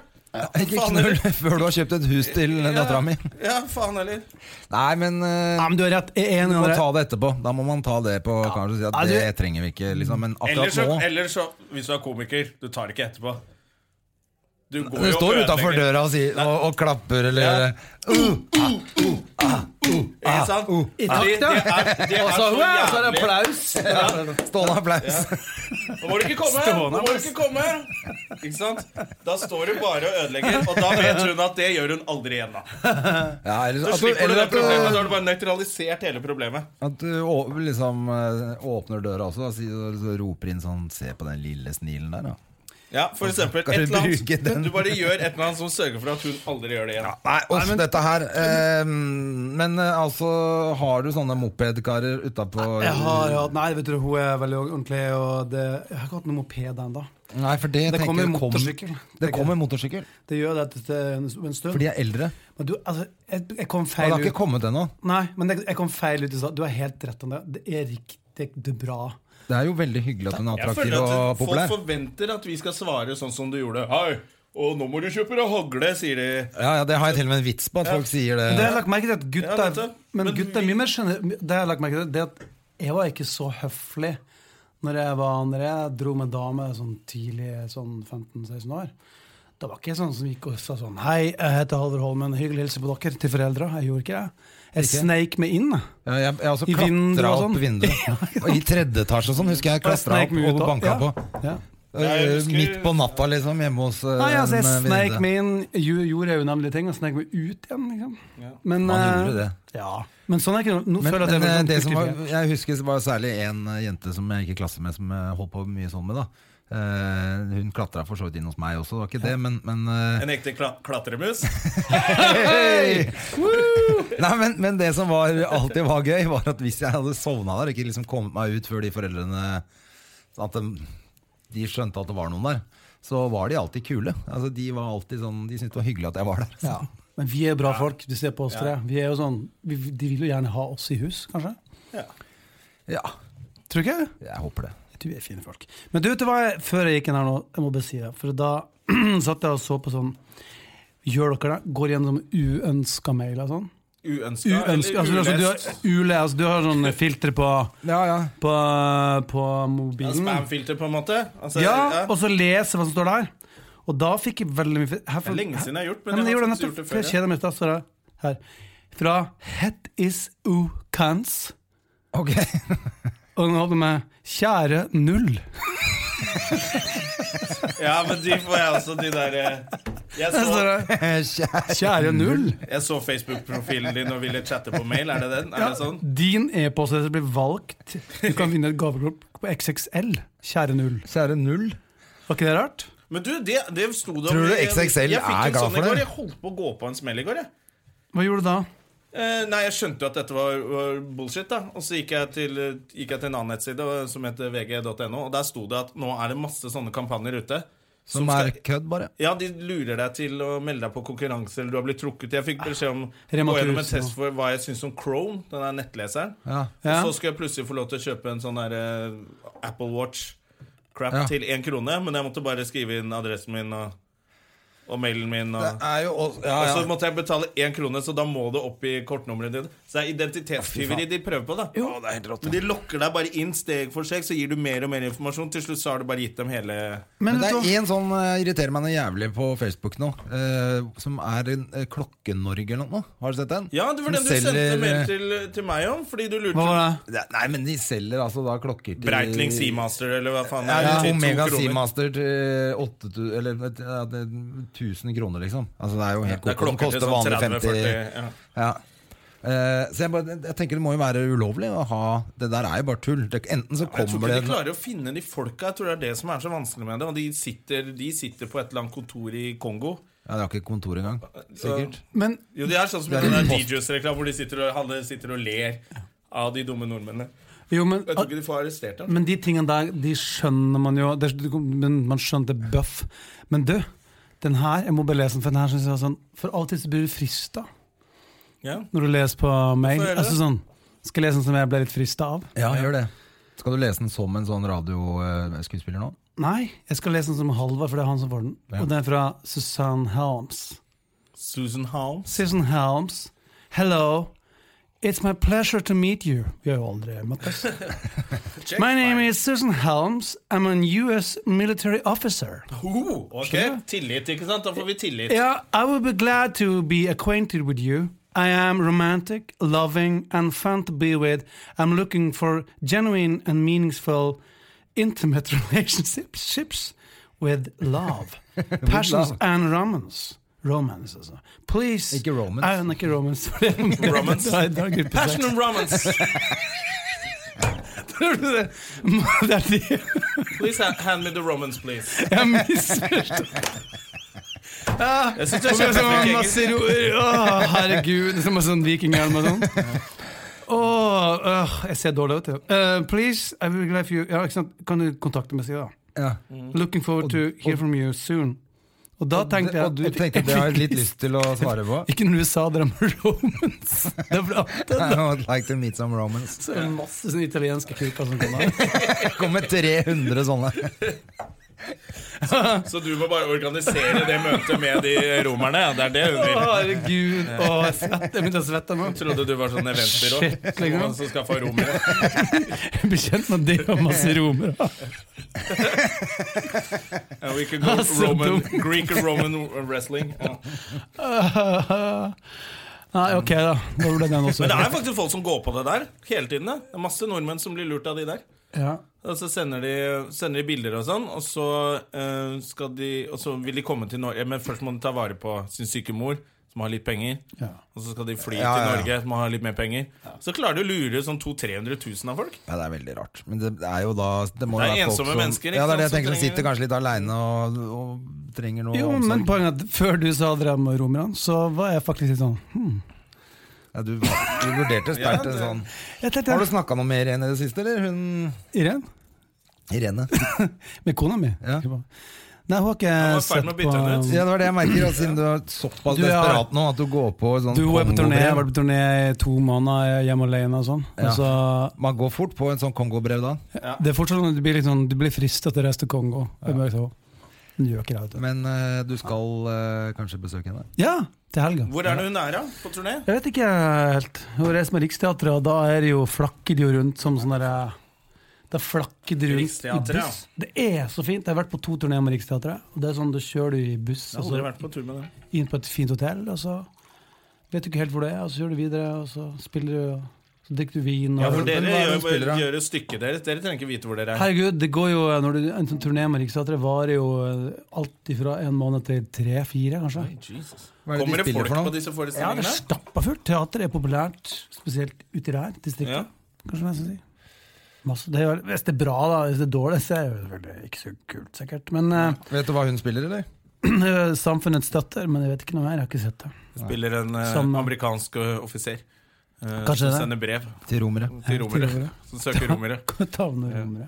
B: Ikke
A: faen,
B: knull før du har kjøpt et hus til dattera mi.
A: Ja, faen heller.
B: Nei, men eh,
C: Ja, men du er rett. Jeg er
B: Du
C: enig,
B: må
C: André.
B: ta det etterpå. Da må man ta det på kanskje, og si at
C: Ja, altså, du-
B: Det trenger vi ikke, liksom. Men
A: Eller
B: akkurat
A: så,
B: nå
A: eller så, hvis du er komiker, du tar det ikke etterpå. Du går
B: Det
A: jo og
B: står utafor
A: ødelegger.
B: døra og, sier, og, og klapper eller
A: Ja.
B: uh,
A: Ikke sant? I takt, ja. Uh. Og så er det applaus.
B: Stående Uh, applaus.
A: Nå må du ikke komme! Nå må du ikke komme! Ikke sant? Da står du bare og ødelegger, og da vet hun at det gjør hun aldri igjen. da
B: Ja, eller
A: Så
B: at du,
A: slipper du
B: eller
A: det
B: at
A: problemet. Da
B: du,
A: har du bare nøytralisert hele problemet.
B: at du å- liksom eh, åpner døra også da, sier- og så roper inn sånn Se på den lille snilen der, da.
A: Ja, for eksempel et
B: Kan du
A: eller
B: bruke den?
A: annet Du bare gjør et eller annet som sørger for at hun aldri gjør det igjen.
B: Nei, off, dette her eh, Men eh, altså, har du sånne mopedkarer utapå
C: Jeg har hatt Nei, vet du, hun er veldig ordentlig, og det, jeg har ikke hatt noen moped ennå.
B: Nei, for det,
C: Det
B: tenker
C: kommer
B: jeg kom-
C: motorsykkel.
B: Det kommer motorsykkel.
C: Det gjør det etter en en stund.
B: For de er eldre.
C: Men du, altså, jeg, jeg kom
B: Og det
C: feil
B: har ikke
C: ut.
B: kommet ennå.
C: Nei, men jeg, jeg kom feil ut i stad. Du har helt rett om det. Det er riktig det er bra.
B: Det er jo veldig hyggelig at hun er
A: Jeg
B: attraktiv
A: føler
B: og
A: at folk
B: populær.
A: forventer at vi skal svare sånn som du gjorde. Hei, og nå må du kjøpe deg hagle, sier de.
B: Ja, ja, Det har jeg til og med en vits på, at folk sier
C: Det har
B: det.
C: jeg lagt merke til at
A: Ja,
C: gutta
A: nettopp.
C: Men
A: Men
C: gutta er
A: vi-
C: mye mer skjønne, Det har jeg lagt merke til det at jeg var ikke så høflig når jeg var Når jeg dro med dame sånn tidlig, sånn 15-16 år. Da var ikke jeg sånn som gikk og sa sånn Hei, jeg heter Halvor Holmen, hyggelig å hilse på dere til foreldra. Jeg gjorde ikke det. Jeg sneik meg inn.
B: Ja, jeg, jeg også
C: I vinduet
B: klatra
C: og
B: opp
C: sånn.
B: vinduet. Og I tredje etasje og sånn, husker jeg. jeg Klatra
C: Jeg sneik
B: opp
C: meg ut
B: og
C: da.
B: banka
C: Ja.
B: på.
C: Ja.
A: jeg
B: Eh,
A: husker-
B: Midt på natta, liksom, hjemme hos eh,
C: Nei, altså, jeg
B: en
C: sneik
B: venninne.
C: meg inn, jo, gjorde jeg unavnlige ting, og sneik meg ut igjen. Liksom. Men,
B: Man
C: eh,
B: gjorde det.
C: Ja. Men sånn er ikke noe nå
B: Men,
C: føler jeg at
B: men eh,
C: jeg er
B: det som var,
C: veldig kulturfri.
B: jeg husker var særlig en eh, jente som jeg gikk i klasse med, som jeg holdt på mye sånn med. da Eh, Hun klatra for så vidt inn hos meg også, det var ikke det, men, men eh,
A: En ekte kla klatremus.
B: Hei! Nei, men, men det som var, alltid var gøy, var at hvis jeg hadde sovna der, ikke liksom kommet meg ut før de foreldrene sånn At de, de skjønte at det var noen der, så var de alltid kule. Altså, de var alltid sånn, de syntes det var hyggelig at jeg var der.
C: Ja. Men vi er bra folk, du ser på oss tre. Vi er jo sånn, vi, de vil jo gjerne ha oss i hus, kanskje?
B: Ja,
C: Tror du ikke?
B: jeg håper det.
C: Du er fine folk. Men du vet du hva, jeg, før jeg gikk inn her nå, jeg må bare si det, for da satt jeg og så på sånn Gjør dere det? Går gjennom uønska mail og sånn?
A: Uønska
C: Uønska, altså, altså, du,
A: ulest.
C: har, ulest, du har sånn filtre på,
B: Ja, ja.
C: på, på mobilen.
A: Spamfilter, på en måte. Altså,
C: Ja, og så lese hva som står der. Og da fikk jeg veldig mye her
A: Det er lenge siden jeg har gjort, men
C: Nei,
A: jeg har
C: gjorde det
A: faktisk
C: nettopp,
A: gjort det
C: for jeg
A: før, ja.
C: kjeder meg litt, da, står det her. Fra Het is ukans,
B: Ok.
C: og den holder med Kjære null.
A: Ja, men de får jeg også, de der eh, Jeg
C: Der
A: så,
C: står det,
B: Kjære-
C: Kjære null.
A: jeg så Facebook-profilen din og ville chatte på mail, er det den? Er det sånn?
C: Din e-postadresse blir valgt. Du kan vinne et gavekort på XXL. Kjære null.
B: Kjære null.
C: Var ikke det rart?
A: Men du, det, det sto det om-
B: Tror du
A: jeg-
B: XXL
A: jeg fikk
B: er
A: en
B: glad for
A: sånn i
B: det?
A: går. Jeg holdt på å gå på en smell i går, jeg.
C: Hva gjorde du da?
A: Eh, nei, jeg skjønte jo at dette var, var bullshit, da. Og så gikk jeg til, gikk jeg til en annen nettside og- som heter vg.no, og der sto det at nå er det masse sånne kampanjer ute.
B: Som er kødd, bare.
A: Ja, de lurer deg til å melde deg på konkurranse, eller du har blitt trukket. Jeg fikk beskjed om
B: Ah,
C: Rema
A: gå gjennom en
C: 1000
A: test for hva jeg syns om Chrome, den der nettleseren.
B: Ja.
C: Ja.
A: Og så skal jeg plutselig få lov til å kjøpe en sånn der eh, Apple Watch-crap
B: Ja.
A: til én krone, men jeg måtte bare skrive inn adressen min og, og mailen min. Og,
B: er jo også,
A: og så måtte jeg betale én krone, så da må det opp i kortnummeret ditt. Så det er identitetstyveri de prøver på, da. Men de lokker deg bare inn steg for steg, så gir du mer og mer informasjon. Til slutt så har du bare gitt dem hele
B: Men det
C: vet du
B: er
C: hva?
B: en sånn eh, irriterer meg noe jævlig på Facebook nå, eh, som er en eh, Klokke-Norge eller noe. Har du sett den?
A: Ja, det var
B: Som
A: den du sendte
B: selger,
A: mail
B: eh,
A: til, til meg om, fordi du
C: Hva var
A: lurte
C: det?
B: det- Nei, men de selger altså da klokker til
A: Breitling Seamaster, eller hva faen.
B: Ja,
A: det er, til to
B: Omega
A: kroner.
B: Seamaster til 8000 Eller ja, det er 1000 kroner, liksom. Altså, det er jo helt
A: Det er
B: koko. Den
A: klokker til
B: koster
A: sånn
B: vanlig 50
A: 30-40, ja.
B: ja. Eh, Så jeg, bare, jeg tenker det må jo være ulovlig å ha Det der er jo bare tull. Det, enten så
A: Jeg tror
B: kommer
A: ikke
B: det
A: de klarer å finne de folka. Jeg tror det er det som er så vanskelig med det. Og de sitter, de sitter på et eller annet kontor i Kongo.
B: Ja, det har ikke kontor engang. Sikkert.
C: Men
A: Jo, de er sånn som i
B: Det er
A: den der
B: en post.
A: DJs-reklame hvor de sitter og, alle sitter og ler av de dumme nordmennene.
C: Jo, men,
A: Jeg
B: Ah.
A: tror ikke de får arrestert dem.
C: men de tingene der, de skjønner man jo det, er- men Man skjønner det bøff. Men du, den her, jeg må bare lese den, for den her synes jeg var sånn For av og til så blir du frista
A: Ja.
C: når du leser på mail.
A: Hvorfor gjør du
C: Altså
A: det?
C: sånn Skal jeg lese den som jeg ble litt frista av?
B: Ja, gjør det. Skal du lese den som en sånn radioskuespiller nå?
C: Nei, jeg skal lese den som Halvard, for det er han som får den. Og den er fra Susanne Helms.
A: Susan Holmes.
C: Susan Helms, hello. It's my pleasure to meet you. Vi har jo aldri møttes. My name is Susan Helms. I'm an US military officer.
A: Oh, ok, Tillit, ikke sant? Da får vi tillit.
C: Yeah, I would be glad to be acquainted with you. I am romantic, loving, and fun to be with. I'm looking for genuine and meaningful, intimate relationships with love, passions,
B: love.
C: and romance. Romance, altså. Please. Ah,
B: Ikke romance.
C: Nei, nei, ikke romance. romance.
A: Passion and romance.
C: Det er det.
A: Please ha- hand me the romance, please.
C: Jeg misforstår. Ah,
A: Jeg synes det er
C: Det var
A: kjempeflink engelsk.
C: masse roer. Å, herregud. Som en sånn vikinghjelm og sånn. Åh, øh, jeg ser dårlig ut. ja. Eh, please, I will be glad for you ja, ikke sant? Kan du kontakte meg, sier jeg da. Mm.
B: Ja.
C: Looking forward to hear from you soon. Og da tenkte jeg
B: Og du tenkte det har jeg litt lyst til å svare på?
C: Ikke når du sa det om romans. Det ble alltid
B: I would like to meet some Romans.
C: så er det masse sånne italienske kuker som kommer.
B: Det kommer 300 sånne.
A: Så du må bare organisere det møtet med de romerne? ja. Det er det hun
C: Å,
A: vil.
C: herregud. Åh, jeg svette. Jeg begynte å svette nå.
A: Jeg trodde du var sånn eventbyrå
C: Shit, liksom.
A: som- som skaffa romere.
C: Jeg blir kjent med det og masse romere.
A: Yeah, we could go
C: så
A: Roman,
C: dumt.
A: Greek and Roman wrestling. Ja.
C: Nei, ok, da. Da ble den også.
A: Men det er faktisk folk som går på det der hele tiden. da. Det er masse nordmenn som blir lurt av de der.
C: Ja.
A: Og så sender de, sender de bilder og sånn, og så, eh, skal de, og så vil de komme til Norge. Men først må de ta vare på sin syke mor, som har litt penger.
C: Ja.
A: Og så skal de fly
B: Ja, ja,
A: til
B: ja.
A: Norge, som har litt mer penger. Så klarer de å lure sånn 200 000-300 000 av folk.
B: Ja, det er veldig rart. Men det er jo da Det, må
A: Det
B: være
A: er
B: folk
A: ensomme
B: som,
A: mennesker, ikke
B: Ja, det er det jeg
A: sant,
B: tenker,
A: som
B: som sitter kanskje litt aleine og, og trenger noe
C: Jo, men
B: omsorg.
C: poenget er at før du sa dere om romerne, så var jeg faktisk litt sånn hm.
B: Ja, du, du vurderte
A: Ja,
B: sterkt
A: det-
B: en sånn Har
C: Jeg tenkte,
B: du snakka noe med Irene i det siste, eller? Hun
C: Irene?
B: Irene.
C: Med kona mi?
B: Ja.
C: Nei, hun har ikke
A: var ferdig
C: sett
A: med å
C: på
A: bytte henne ut.
B: Ja, det var det jeg merker, at siden du er såpass
C: Du, ja.
B: desperat nå at du går på sånn
C: Du hun er på turné, jeg
B: Kongo-brev.
C: har vært på turné i to måneder, jeg er hjemme alene og sånn.
B: Ja.
C: Og så,
B: Man går fort på en sånn Kongo-brev da.
C: det er fortsatt sånn at du blir, litt sånn, du blir fristet til å reise til Kongo. Det er bare så. Hun gjør ikke det, vet du.
B: Men eh, du skal eh, kanskje besøke henne?
C: Ja, til helga.
A: Hvor er det hun er, da? På turné?
C: Jeg vet ikke helt. Hun reiser med Riksteatret, og da er det jo flakker de jo rundt som sånn derre Da flakker de rundt i
A: Riksteatret,
C: buss. Det er så fint. Jeg har vært på to turneer med Riksteatret. og Det er sånn, Da kjører du i buss
A: Jeg har
C: og
A: aldri
C: så
A: vært på tur med det.
C: inn på et fint hotell, og så vet du ikke helt hvor det er, og så kjører du videre, og så spiller du, og så drikker du vin. Og
A: Ja, for
B: men
A: dere
B: hva er det hun
A: gjør,
B: spiller, da?
A: gjør stykket deres. Dere trenger ikke vite hvor dere er.
C: Herregud, det går jo når du, En sånn turné med Riksteatret varer jo eh, alt ifra en måned til tre-fire, kanskje.
A: Jesus.
B: Hva er det
A: Kommer
B: de
A: det
B: spiller
A: folk
B: for
A: på
B: noe?
A: disse
C: Ja, det er
A: forestillingene?
C: stappa fullt. Teater er populært, spesielt ute i det her distriktet.
A: Ja.
C: Kanskje man skal si. Masse, det er, hvis det er bra, da. Hvis det er dårlig, så er det selvfølgelig ikke så kult, sikkert. Men eh,
B: Vet du hva hun spiller, eller?
C: Samfunnets støtter, men jeg vet ikke noe mer. Jeg har ikke sett det.
A: Spiller en eh,
C: Som-
A: amerikansk eh, offiser. eh,
C: Kanskje
A: som
C: det.
A: sender brev
B: Til romere.
A: til romere.
C: romere.
A: Som søker romere.
C: Tavner romere.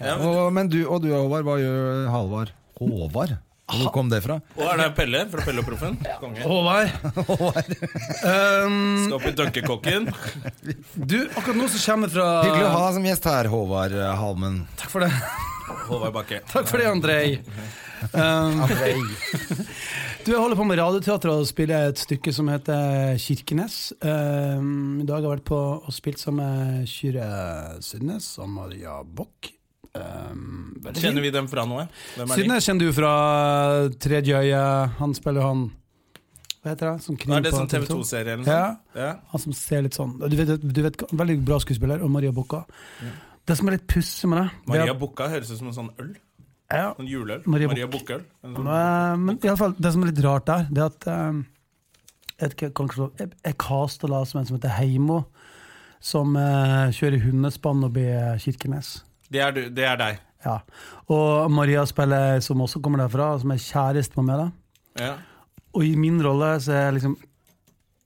A: Ja, men,
B: Og, men du, og du, Håvard, hva gjør Halvard? Håvard? Hvor kom det fra?
A: og er det Pelle fra Pelle og Proffen? Konge.
C: Håvard, um,
A: Skal opp i dunkekokken.
C: du, akkurat nå så kommer jeg fra
B: Hyggelig å ha deg som gjest her, Håvard eh, Halmen.
C: Takk for det,
A: Håvard Bakke.
C: Takk for det, Andrej. Um, Du, jeg holder på med radioteater og spiller et stykke som heter Kirkenes. Um, I dag har jeg vært på og spilt sammen med Kyrre Sydnes og Maria Bock. Um, veldig
A: Kjenner
C: fint.
A: vi dem fra noe? Hvem er de?
C: Sydnes kjenner du fra Tredje øye. Han spiller jo han Hva heter det? Som kniv
A: Er det
C: på
A: sånn
C: TV 2.
A: TV2-serie eller noe?
C: Ja,
A: Ja.
C: han som ser litt sånn Du vet, du vet Veldig bra skuespiller, og Maria Bocca. Det som er litt pussig med det det er
A: Maria
C: at-
A: Bukka høres ut som en sånn øl.
C: ja,
A: Sånn juleøl. Maria,
C: Maria
A: Maria Bukka-øl. En sånn-
C: Eh, Men i alle fall, det som er litt rart der, det er at eh, Jeg vet ikke, jeg kan ikke slå Jeg, jeg caster da som en som heter Heimo, som eh, kjører hundespann og blir Kirkenes.
A: Det er, du, det er deg.
C: Ja. Og Maria spiller, som også kommer derfra, som er kjæreste med meg. da
A: Ja.
C: Og i min rolle så er jeg liksom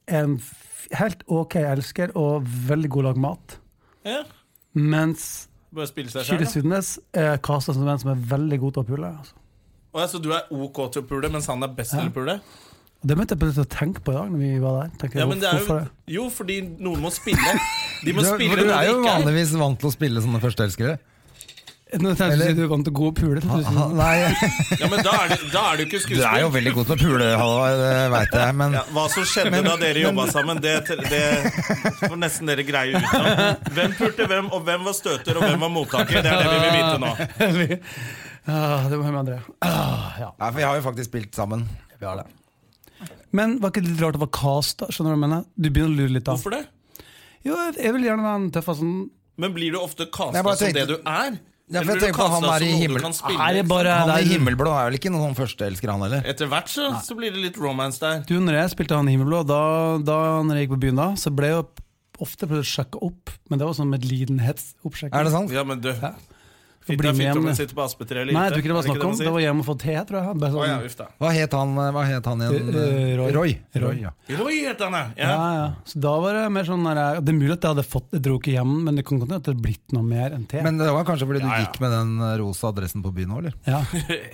C: en f- helt OK elsker og veldig god lag mat.
A: ja.
C: Mens
A: Bare spille seg
C: Kyrre
A: sjøl.
C: Sydnes er casta som en som er veldig god til å pule. Altså.
A: Så du er OK til å pule, mens han er best til å pule?
C: Og Det begynte jeg plutselig å tenke på i dag. Når vi var der Tenkte jeg,
A: Ja, men det er jo,
C: hvorfor det?
A: jo, fordi noen må spille. De må
B: Du,
A: spille
B: for du
A: noe
B: er
A: de
B: jo
A: ikke er.
B: vanligvis vant til å spille sånne førsteelskere.
C: Nå tenkte jeg
B: Eller-
C: at du kom til gode puler.
B: Ah, Nei,
A: Ja, men da er du, da er du
B: du
A: ikke
B: er
A: skuespiller.
B: jo veldig god til å pule, Halvard, det veit jeg, men
A: Ja, hva som skjedde da dere jobba sammen, det, det får nesten dere greie ut av. Hvem pulte hvem, og hvem var støter, og hvem var mottaker? Det er det vi vil vite nå.
C: Ah, det må jeg med André. Ah, ja.
B: Nei, for jeg har jo faktisk spilt sammen.
C: Men var ikke det litt rart å være casta? Skjønner du hva jeg mener? Du begynner å lure litt av.
A: Hvorfor det?
C: Jo, jeg- jeg vil gjerne være en tøff sånn
A: Men blir du ofte
B: Jeg
A: kasta
B: bare
A: som
B: tenkte-
A: det du er?
B: Ja, for jeg
A: Eller blir du
B: tenker på han
A: kastet
B: der i
A: som noe du
B: himmel-
A: kan spille?
C: Er det bare
B: Han i
C: der?
B: himmelblå er vel ikke noen sånn førsteelsker, han heller?
A: Etter hvert så, så blir det litt romance der.
C: Du, når jeg spilte han i Himmelblå, da, da når jeg gikk på byen da, så ble jeg jo ofte prøvd å sjekke opp, men det var sånn medlidenhetsoppsjekking.
B: Er det sant?
A: Ja, men du
C: Få
A: Fitt
C: bli
A: er
C: med
A: fitt om
C: hjem.
A: hun sitter på aspetre eller
C: Nei,
A: ikke.
C: jeg tror ikke det var
A: Er
C: snakk om.
A: man sier?
C: Det var hjem og få te, tror jeg. Bare
A: Å, ja,
C: sånn,
A: uff da.
B: Hva het han, hva het han igjen?
C: Eh, Roy.
B: Roy.
C: Roy,
B: ja.
A: Roy het han, ja.
C: ja,
A: ja.
C: ja. Så da var det mer sånn der, Det er mulig at jeg hadde fått Jeg dro ikke hjem, men det kan godt hende at det hadde blitt noe mer enn te.
B: Men det var kanskje fordi du gikk med den eh, rosa dressen på byen òg, eller?
C: ja,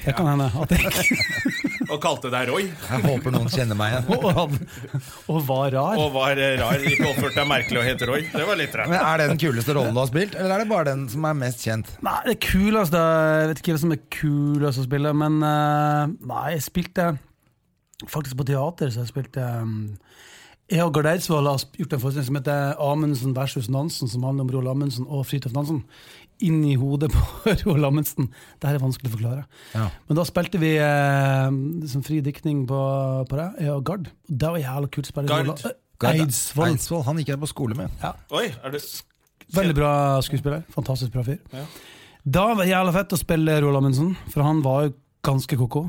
C: det kan hende. At jeg ikke
A: Og kalte deg Roy.
B: Jeg håper noen kjenner meg igjen.
C: og, hadde- og var rar.
A: Og var eh, rar. Ikke oppførte deg merkelig og het Roy. Det var litt rart.
B: Men Er det den kuleste rollen du har spilt, eller er det bare den som er mest kjent?
C: Nei, det kuleste Jeg vet ikke hva som er kulest å spille, men eh, Nei, jeg spilte faktisk på teater, så jeg spilte um, Jeg og Gard Eidsvoll har sp- gjort en forestilling som heter Amundsen versus Nansen, som handler om Roald Amundsen og Fridtjof Nansen. Inni hodet på Roald Amundsen. Dette er vanskelig å forklare.
B: Ja.
C: Men da spilte vi eh, som fri diktning på, på det, jeg og Gard. Og Det var jævla kult å spille
A: Gard?
C: Roald- eh, Eidsvoll.
B: Eidsvoll, Han gikk jeg på skole med.
A: Oi, er du
C: Veldig bra skuespiller. Fantastisk bra fyr. Da var det jævla fett å spille Roald Amundsen, for han var jo ganske ko-ko.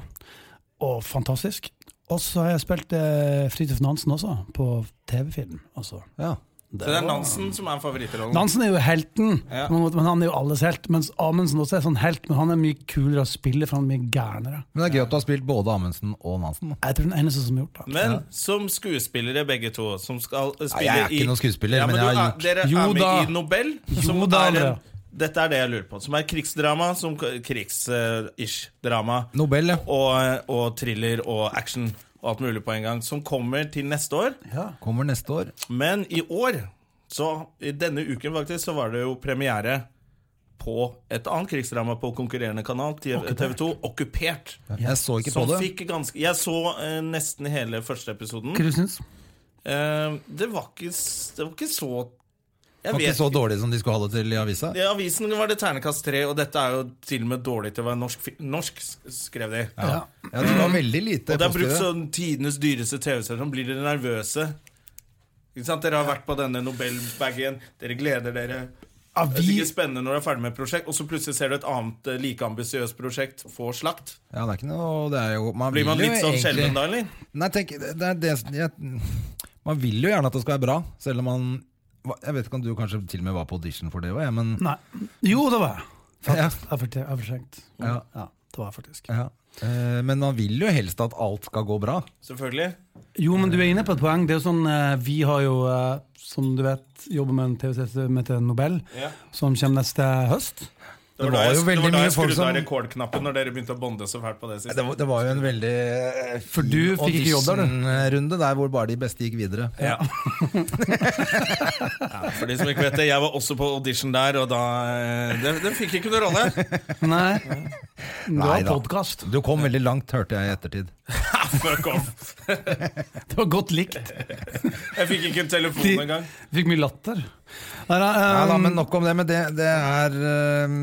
C: Og fantastisk. Og så har jeg spilt eh, Fridtjof Nansen også, på TV-film. Altså.
B: Ja.
A: Så det er Nansen som er favorittrollen.
C: Nansen er jo helten,
A: Ja.
C: på en måte, men han er jo alles helt. Mens Amundsen også er sånn helt, men han er mye kulere å spille, for han er mye gærnere.
B: Men det er gøy at du har spilt både Amundsen og Nansen. da.
C: Jeg tror den eneste som har gjort det.
A: Men som skuespillere, begge to, som skal eh,
B: Nei,
A: spille
B: jeg er ikke
A: i-
B: noen skuespiller,
A: ja, men
B: men jeg
A: du
B: har
A: er, Dere
C: Jo
A: er med
C: da.
A: i Nobel. Som
C: Jo da,
A: er en,
C: Andrea.
A: dette er det jeg lurer på. Som er krigsdrama, som krigs-ish-drama.
B: Nobel, ja.
A: og, og thriller og action og alt mulig på en gang, som kommer til neste år.
B: Kommer neste år.
A: Men i år, så i denne uken faktisk, så var det jo premiere på et annet krigsdrama på konkurrerende kanal, TV 2, Okkupert.
B: Jeg så ikke
A: Som
B: på det.
A: fikk ganske Jeg så eh, nesten hele første episoden.
C: Hva du syns
A: Eh, det, var ikke, s- det var ikke så Jeg
B: Var
A: vet
B: ikke så dårlig som de skulle ha det til i avisa.
A: I avisen var det ternekast tre, og dette er jo til og med dårlig til å være norsk, fi- norsk s- skrev de.
B: Ja. Ja, det var veldig lite
A: Og det er brukt
B: positive.
A: sånn tidenes dyreste TV-serie som blir dere nervøse. Ikke sant? Dere har vært på denne Nobelbagen, dere gleder dere. Det er sikkert spennende når du er ferdig med et prosjekt, og så plutselig ser du et annet eh, like ambisiøst prosjekt få slakt.
B: Ja, det er ikke noe det er jo, man
A: Blir man
B: vil jo
A: litt sånn
B: egentlig-
A: skjelven da, eller?
B: Nei, tenk, det er det som- jeg, Man vil jo gjerne at det skal være bra, selv om man Jeg vet ikke om du kanskje til og med var på audition for det òg, jeg, men
C: Nei. Jo, det var jeg.
B: Ja.
C: Faktisk. Jeg er forte- jeg er forsenkt.
B: Ja.
C: ja, det var jeg faktisk.
B: ja. Eh, Men man vil jo helst at alt skal gå bra.
A: Selvfølgelig.
C: Jo, men du er inne på et poeng. Det er jo sånn, eh, Vi har jo, eh, som du vet, jobber med en TV-serie som heter Nobel,
A: Ja.
C: som kommer neste høst.
A: Det var,
B: var
A: da jeg,
B: jo
A: det
B: veldig
A: var da
B: mye
A: jeg
B: folk
A: skrudde av
B: som-
A: rekordknappen når dere begynte å bonde så fælt på det siste.
B: Det var, det var jo en veldig eh,
C: For du
B: fin
C: fikk ikke jobb der, du.
B: auditionrunde der hvor bare de beste gikk videre.
A: Ja. For de som ikke vet det, jeg var også på audition der, og da eh, Den, den fikk ikke noen rolle.
C: Nei, du har
B: Nei da.
C: podkast.
B: Du kom veldig langt, hørte jeg i ettertid.
A: Ha, Ah, Fuck off.
C: Det var godt likt.
A: Eh, Jeg fikk ikke en telefon
C: De-
A: engang.
C: Fikk mye latter. Nei, nei,
B: Nei da,
C: um,
B: men nok om det. Men det, det er eh,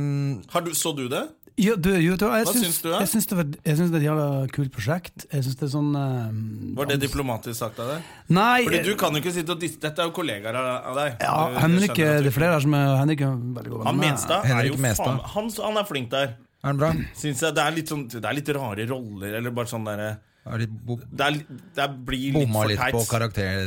A: Har du- Så du det?
C: ja, du, jo, du, jeg
A: Hva
C: syns,
A: syns du, da?
C: Jeg syns det, var- jeg syns det er et jævla kult prosjekt. Jeg syns det er sånn um,
A: Var det diplomatisk sagt av deg?
C: Nei,
A: Fordi
C: eh,
A: du kan jo ikke sitte og disse Dette er jo kollegaer av av deg.
C: ja,
A: Du- du
C: Henrik,
A: skjønner at
C: eh,
A: du-
C: det er flere her som er Henrik er en veldig god venn
A: Han
C: med-
A: Menstad er
B: Henrik
A: jo
B: Menstad.
A: faen han, han er flink der.
B: Er den bra?
A: Synes jeg det er litt sånn Det er litt rare roller, eller bare sånn derre
B: Er de bo
A: Det, er li- det blir litt
B: bomma
A: for
B: litt på
A: teit.
B: karakter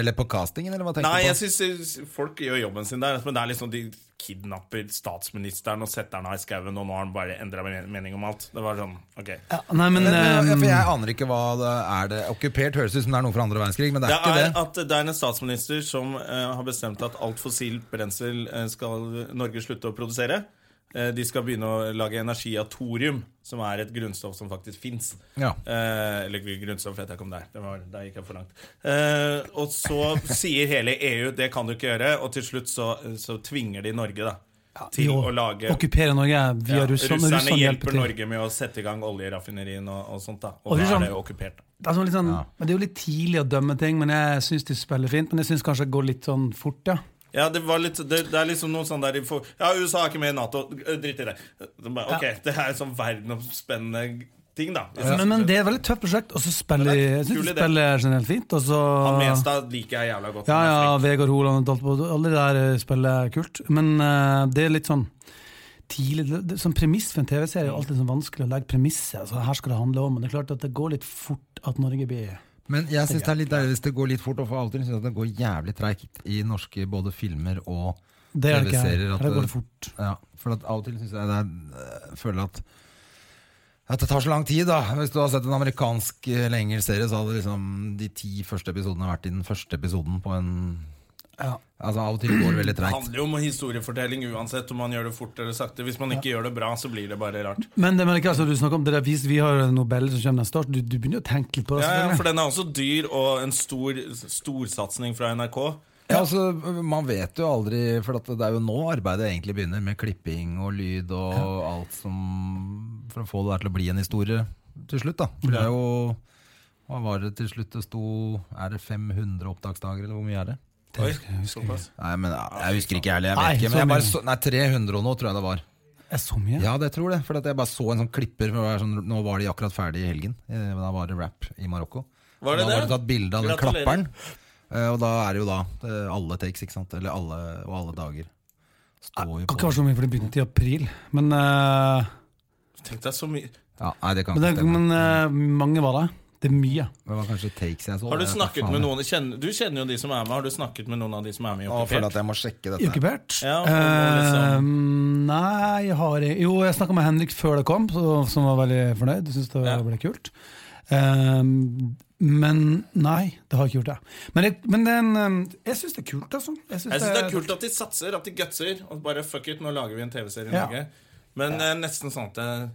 B: Eller på castingen, eller hva tenker
A: Nei,
B: du på?
A: jeg syns folk gjør jobben sin der. Men det er liksom de kidnapper statsministeren og setter han av i skauen, og nå har han bare endra mening om alt. Det var sånn, ok
C: Ja, nei, men,
B: Men, eh,
C: um,
B: for jeg aner ikke hva det er det Okkupert høres ut som det er noe fra andre verdenskrig, men det er,
A: Det
B: ikke
A: er
B: det.
A: at det er en statsminister som eh, har bestemt at alt fossilt brensel eh, skal Norge slutte å produsere. Eh, de skal begynne å lage energi av thorium, som er et grunnstoff som faktisk fins.
B: Ja.
A: Eh, eller grunnstoff vet jeg ikke om det er. Det var, der gikk jeg for langt. Eh, og så sier hele EU det kan du ikke gjøre, og til slutt så, så tvinger de Norge da, til
C: jo,
A: å lage
C: Okkupere Norge via
A: Ja,
C: Russland.
A: Russerne
C: Russland
A: hjelper
C: til.
A: Norge med å sette i gang oljeraffinerien og, og sånt. da Og,
C: Og
A: da
C: Russland-
A: er det jo okkupert.
C: Det er, sånn litt sånn,
B: Ja.
C: men det er jo litt tidlig å dømme ting, men jeg syns de spiller fint. Men jeg syns kanskje det går litt sånn fort, ja.
A: Ja, det, var litt, det, det er liksom noe sånn der i for- Ja, USA er ikke med i Nato. eh, Dritt i det. De bare, ok, Det er sånn verdensomspennende ting, da.
C: Men, men det er et veldig tøft prosjekt, og så spiller de
A: Men det er
C: Jeg synes
A: kul
C: de
A: idé.
C: spiller generelt fint. Og så
A: Han Menstad liker jeg jævla godt.
C: Ja,
A: Han er
C: ja,
A: flink.
C: Vegard Holand og Daltbo, alle de der eh, spiller kult. Men eh, det er litt sånn tidlig det, det, Som premiss for en TV-serie er jo alltid sånn vanskelig å legge premisset. Altså, her skal det handle om, men det er klart at det går litt fort at Norge blir
B: Men jeg syns det er litt deilig hvis det går litt fort, og for alltid syns jeg at det går jævlig treigt i norske både filmer og
C: Det er det ikke her.
B: TV-serier. at
C: Her går
B: det-
C: det fort.
B: Ja, for at av og til syns jeg det er, øh, føler at at det tar så lang tid, da. Hvis du har sett en amerikansk øh, eller engelsk serie, så hadde liksom de ti første episodene vært i den første episoden på en
C: Ja.
B: Altså Av og til går det veldig
A: Det
B: treigt.
A: handler jo om historiefortelling uansett om man gjør det fort eller sakte. Hvis man ikke gjør det bra, så blir det bare rart.
C: Men det merker jeg altså, du snakker om det der, vi, vi har en Nobel som kommer neste år, du, du begynner jo å tenke litt på det.
A: Ja, ja,
C: selvfølgelig.
A: For den er også dyr, og en stor storsatsing fra NRK.
B: Ja, altså, man vet jo aldri, for at det er jo nå arbeidet egentlig begynner, med klipping og lyd og alt som For å få det der til å bli en historie til slutt, da. For det er jo Hva var det til slutt det sto Er det 500 opptaksdager, eller hvor mye er det?
A: Oi, såpass.
B: Nei, men jeg, jeg husker ikke ærlig, jeg
C: Nei,
B: vet ikke.
C: så
B: Men jeg bare
C: mye.
B: så, nei, 300 og noe, tror jeg det var.
C: Er så mye?
B: Ja, det tror det. For at jeg bare så en sånn klipper. For det var sånn, nå var de akkurat ferdig i helgen. Eh, men Da var det rap i Marokko.
A: Var
B: da
A: det
B: var det
A: det?
B: tatt bilde av den
A: Gratulerer.
B: klapperen. Eh, Og da er det jo da eh, alle takes, ikke sant? Eller alle, og alle dager. Står jo
C: Kan ikke
B: på
C: være så mye, for det begynte i april. Men, eh,
A: Tenk deg så mye
B: ja, Nei, det kan
C: men,
B: ikke
C: det,
B: stemme.
C: men eh, mange var det. Det er mye.
B: Det var kanskje takes jeg så.
A: Har du
B: Jeg vet
A: snakket
B: faen.
A: med noen kjenner, Du kjenner jo de som er med. Har du snakket med noen av de som er med i
B: Å, Jeg føler
A: Okkupert?
B: at jeg må sjekke dette.
C: Ukebert?
A: Ja, og nå
C: Eh, nei, jeg har jeg Jo, jeg snakka med Henrik før det kom, så, som var veldig fornøyd. Du syntes det var
A: Ja.
C: veldig kult. Ehm, men nei, det har jeg ikke gjort, jeg. Men, jeg- men den, ehm, jeg syns det er kult, altså. Jeg syns
A: Jeg synes det er kult at de satser, at de gutser. Og bare fuck it, nå lager vi en TV-serie i
C: Ja.
A: Norge. Men eh, nesten sånn at jeg,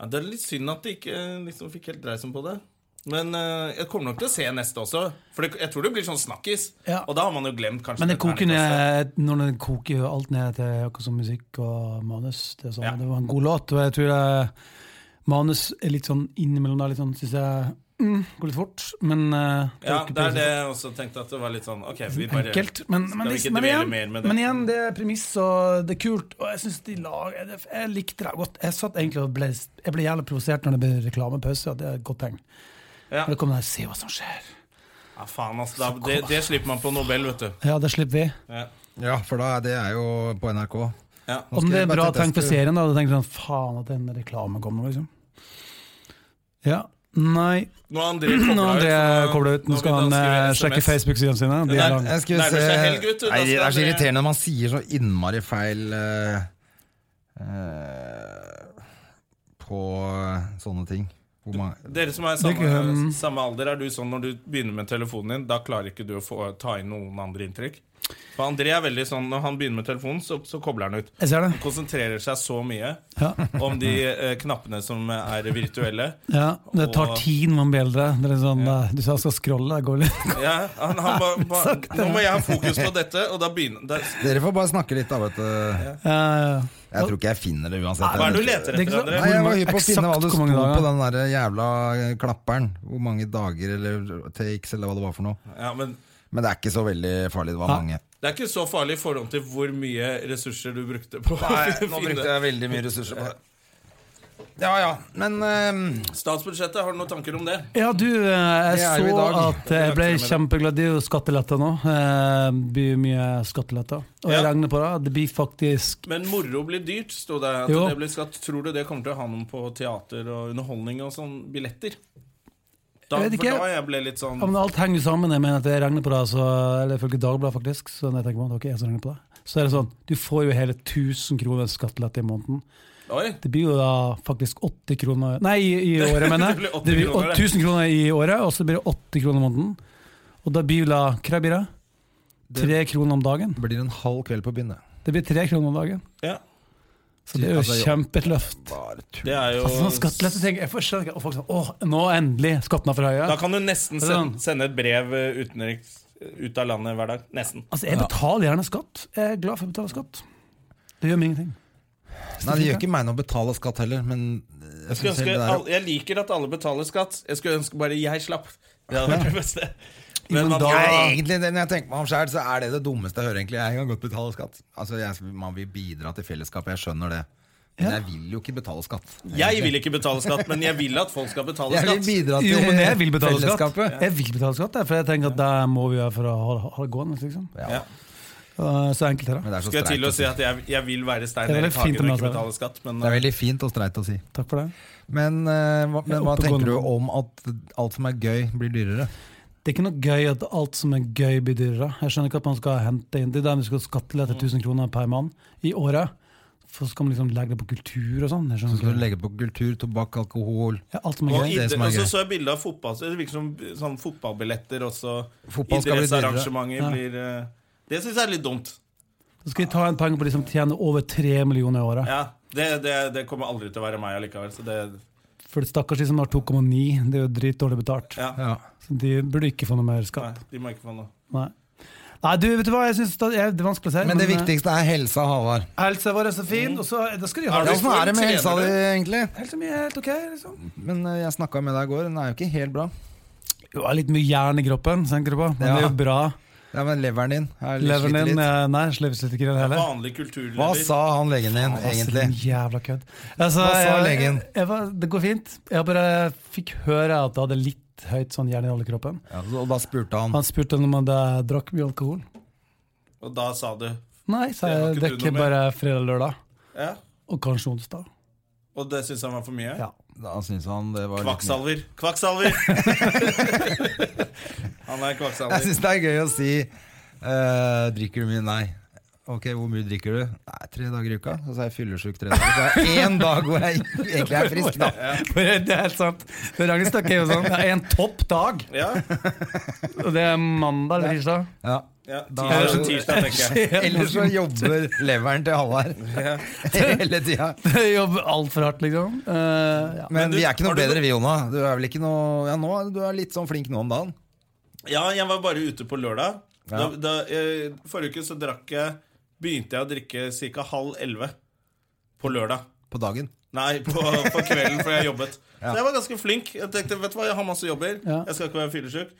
A: ja, Det er litt synd at de ikke eh, liksom fikk helt dreisen på det. Men eh, jeg kommer nok til å se neste også. For det, jeg tror det blir sånn snakkis.
C: Ja.
A: Og da har man jo glemt kanskje
C: Men det
A: det
C: koker
A: terningkastet.
C: ned Når det koker jo alt ned til akkurat som musikk og manus. Det, er sånn,
A: Ja.
C: det var en god låt, og jeg tror jeg, manus er litt sånn innimellom der, litt sånn syns jeg mm, går litt fort. Men eh,
A: Ja,
C: ikke
A: det er det
C: så
A: jeg også tenkte at det var litt sånn Ok, vi bare
C: Enkelt, men,
A: Skal
C: men,
A: vi
C: det-
A: ikke
C: men,
A: dvele
C: igjen,
A: mer med det?
C: men igjen, det er premiss, og det er kult. Og jeg synes de lag, jeg, jeg likte det godt. Jeg satt egentlig og ble, jeg ble jævlig provosert når det ble reklamepause, og det er et godt tegn.
A: Ja.
C: Når det kommer der, se hva som skjer.
A: Ja, faen, altså. Da, det, det slipper man på Nobel, vet du.
C: Ja, det slipper vi.
A: Ja.
B: Ja, for da er det er jo på NRK.
A: Ja.
B: Nå
C: Om
B: skal
C: det
B: jeg
C: er
B: bare
C: bra
B: til
C: tegn for
B: test-
C: serien, da. Du tenker sånn faen at en reklame kommer, liksom. Ja. Nei.
A: Nå har André
C: Nå
A: koblet
C: har André
A: så
C: koblet ut. Nå skal han eh,
A: skrive
C: sjekke
A: SMS.
C: Facebook-sidene sine. De er
A: Nei,
C: lange.
B: Jeg skulle
A: Nærmer
B: se
A: seg helg, vet du, da
B: Nei, Det
A: skal
B: er så
A: dere-
B: irriterende når man sier så innmari feil eh, eh, på sånne ting. Hvor mange
A: Dere som er
C: Det er ikke,
A: samme,
C: um,
A: samme alder, er du sånn når du begynner med telefonen din, da klarer ikke du å få, ta inn noen andre inntrykk? For André er veldig sånn Når han begynner med telefonen, så, så kobler han ut.
C: Jeg ser
A: Han
C: det.
A: konsentrerer seg så mye
C: Ja.
A: om de eh, knappene som er virtuelle.
C: ja. Det tar
A: Og-
C: tid med en bilde. Det er sånn, eh, Du sa jeg skal scrolle, jeg går litt
A: Ja, han, han ba, ba, nå må jeg ha fokus på dette, og da begynner da,
B: Dere får bare snakke litt, da. vet du
C: Ja, ja.
B: Jeg tror ikke jeg finner det uansett.
A: Hva er det du leter
C: Det
A: etter,
C: er ikke så-
A: André?
B: Nei, Jeg var hypp på å finne hva
C: Eksakt
B: det
C: hvor
B: sto
C: mange dager?
B: på den der jævla eh, klapperen. Hvor mange dager eller takes eller hva det var for noe.
A: Ja, men
B: Men det er ikke så veldig farlig. Det var
C: Nei.
B: mange.
A: det er ikke så farlig i forhold til hvor mye ressurser du brukte på å finne
B: jeg veldig mye ressurser på det. Ja ja, men eh,
A: Statsbudsjettet, har du noen tanker om det?
C: Ja, du, eh, jeg
B: Det er jo i
C: så
B: dag.
C: at eh, jeg ble kjempeglad. Det er jo skatteletter nå. Eh, Det blir mye skatteletter. Og jeg
A: Ja.
C: regner på det. Det blir faktisk
A: Men moro blir dyrt, sto det. At
C: Jo.
A: det blir skatt. Tror du det kommer til å ha noen på teater og underholdning og sånn? Billetter? Da,
C: Jeg vet ikke.
A: For da jeg ble litt sånn
C: Ja, men alt henger jo sammen. Jeg mener at jeg regner på det, så, eller ifølge Dagbladet faktisk, så når jeg tenker på det, det er ikke jeg som regner på det. Så er det sånn, du får jo hele 1000 kroner skattelette i måneden.
A: Oi!
C: Det blir jo da faktisk 80 kroner, nei, i, i året mener
A: Det
C: jeg.
A: blir 80
C: Det blir
A: kroner, det.
C: 1000 kroner i året, og så blir det 80 kroner i måneden. Og da blir jo da, hva blir det? Tre kroner om dagen.
B: det blir en halv kveld på byen, det.
C: Det blir tre kroner om dagen.
A: Ja,
C: Så det er jo
B: Altså,
C: kjempeløft.
B: Bare tull.
A: det er jo
C: Altså, sånn skattelette tenker jeg, jeg forstår ikke, og folk sånn, åh, nå endelig, skatten er for høye.
A: Da kan du nesten
C: Sånn.
A: sende, sende et brev eh, utenriks ut av landet hver dag. Nesten.
C: Altså, jeg betaler gjerne skatt. Jeg er glad for å betale skatt. Det gjør meg ingenting.
B: Nei, det gjør ikke meg noe å betale skatt heller, men eh, jeg,
A: Skulle
B: synes
A: ønske,
B: hele det
A: all,
B: der,
A: jeg liker at alle betaler skatt. Jeg skulle ønske bare jeg slapp. Det hadde vært det beste.
C: men
A: man-
C: da-
B: Nei, egentlig, det- når jeg tenker meg om selv, så er det det dummeste jeg hører, egentlig. Jeg kan godt betale skatt. Altså, jeg, man vil bidra til fellesskapet, jeg skjønner det. Men jeg vil jo ikke betale skatt.
A: jeg vil ikke betale skatt, men jeg vil at folk skal betale
B: Jeg vil
A: skatt.
B: bidra til
C: Jo, men jeg vil betale skatt.
B: fellesskapet.
C: Jeg vil betale skatt, jeg, for jeg tenker at det må vi gjøre for å ha ha det gående. liksom.
A: Ja.
C: Uh, Så enkelt er det.
B: Men det er så
A: Skal jeg til
B: streit
A: å
B: å
A: si at jeg, jeg vil være Stein
C: Det er veldig
A: Erik Hagen
C: fint om
A: og
C: jeg
A: ikke
C: sa
A: betale skatt, men
B: Det er veldig fint og streit å si.
C: Takk for det.
B: Men, eh, hva, men hva
C: oppegående.
B: tenker du om at alt som er gøy, blir dyrere?
C: Det er ikke noe gøy at alt som er gøy, blir dyrere. Jeg skjønner ikke at man skal hente inn Det er der vi skal skattelette 1000 kroner per mann i året. Så skal man liksom legge det på kultur og sånn. Jeg
B: Så skal du
C: skjønner ikke.
B: legge på kultur, tobakk, alkohol
C: Ja, alt som er
A: Og
C: gøy.
B: i- det
A: idre-
B: som er
A: og så
B: gøy.
A: så jeg bilde av fotball så Det virker som sånn fotballbilletter også.
B: Fotball skal bli dyrere.
A: Idrettsarrangementer
C: Ja.
A: blir eh, Det syns jeg er litt dumt.
C: Så skal vi ta en penge på de som tjener over tre millioner i året.
A: Ja, det, det, det kommer aldri til å være meg allikevel. Så det,
C: For det stakkars de som har 2,9, det er jo dritdårlig betalt.
A: ja,
B: Ja.
C: Så de burde ikke få noe mer
A: nei,
C: skatt.
A: de må ikke få noe.
C: Nei. Nei, du, vet du hva? Jeg synes det er det er vanskelig å si.
B: Men det
C: eh,
B: viktigste er helsa, Halvard.
C: Helsa vår er så fin,
B: Mm.
C: og så da skal de ha
B: Ja,
A: Er det
C: det.
B: Åssen er det med
A: Trener
B: helsa
A: du?
B: di, egentlig?
C: Helsa mi er helt ok, liksom.
B: Men eh, jeg snakka med deg i går, den er jo ikke helt bra.
C: Jo, det er litt mye jern i kroppen, tenker du på. Men det er
B: Ja.
C: jo bra.
B: Ja, men leveren din er litt
C: Leveren
B: sliter
C: din
B: litt.
C: eh, Nei, slipper slipper ikke det heller.
A: Vanlig kulturliv.
B: Hva sa han legen din, egentlig?
C: Altså, din jævla kødd. Altså,
B: Hva sa
C: jeg-
B: legen?
C: Jeg, var- det går fint. Jeg bare fikk høre at jeg hadde litt høyt sånn jern i alle kroppen.
B: Ja, så- og da spurte han
C: Han spurte om jeg hadde drakk mye alkohol.
A: Og da sa du
C: Nei, sa
A: Det har
C: jeg.
A: ikke du noe
C: Drikker
A: med.
C: bare fredag-lørdag.
A: Ja,
C: Og kanskje onsdag.
A: og det syns han var for mye?
C: Ja.
B: Da syntes han det var litt mye.
A: Kvakksalver. Kvakksalver! han er
B: Jeg
A: kvakksalver.
B: syns det er gøy å si eh, Drikker du mye? Nei. Ok, hvor mye drikker du? Nei, Tre dager i uka. Og så er jeg fyllesyk tre dager. Så er det én dag hvor jeg egentlig er frisk, da.
C: For det er helt sant. For Ragnhild er jo sånn. Det er en topp dag.
A: Ja,
C: Og det er mandag eller tirsdag.
B: Ja.
A: Ja,
B: Da- sånn-
A: tirsdag, tirsdag, tenker jeg.
B: Ellers så jobber leveren til Halvard hele tida.
C: Jobber altfor hardt, liksom. Eh, ja.
B: Men
A: du-
B: vi er ikke
A: har
B: noe
A: du-
B: bedre, vi, Jona. Du er vel ikke noe Ja, nå er du er litt sånn flink nå om dagen.
A: Ja, jeg var bare ute på lørdag. Da,
B: Ja.
A: da, eh, forrige uke så drakk jeg Begynte jeg å drikke ca. halv elleve på lørdag.
B: På dagen.
A: Nei, på, på kvelden, for jeg jobbet. Så jeg var ganske flink. Jeg tenkte, vet du hva, jeg har masse jobber.
C: Ja.
A: Jeg skal ikke være fyllesyk.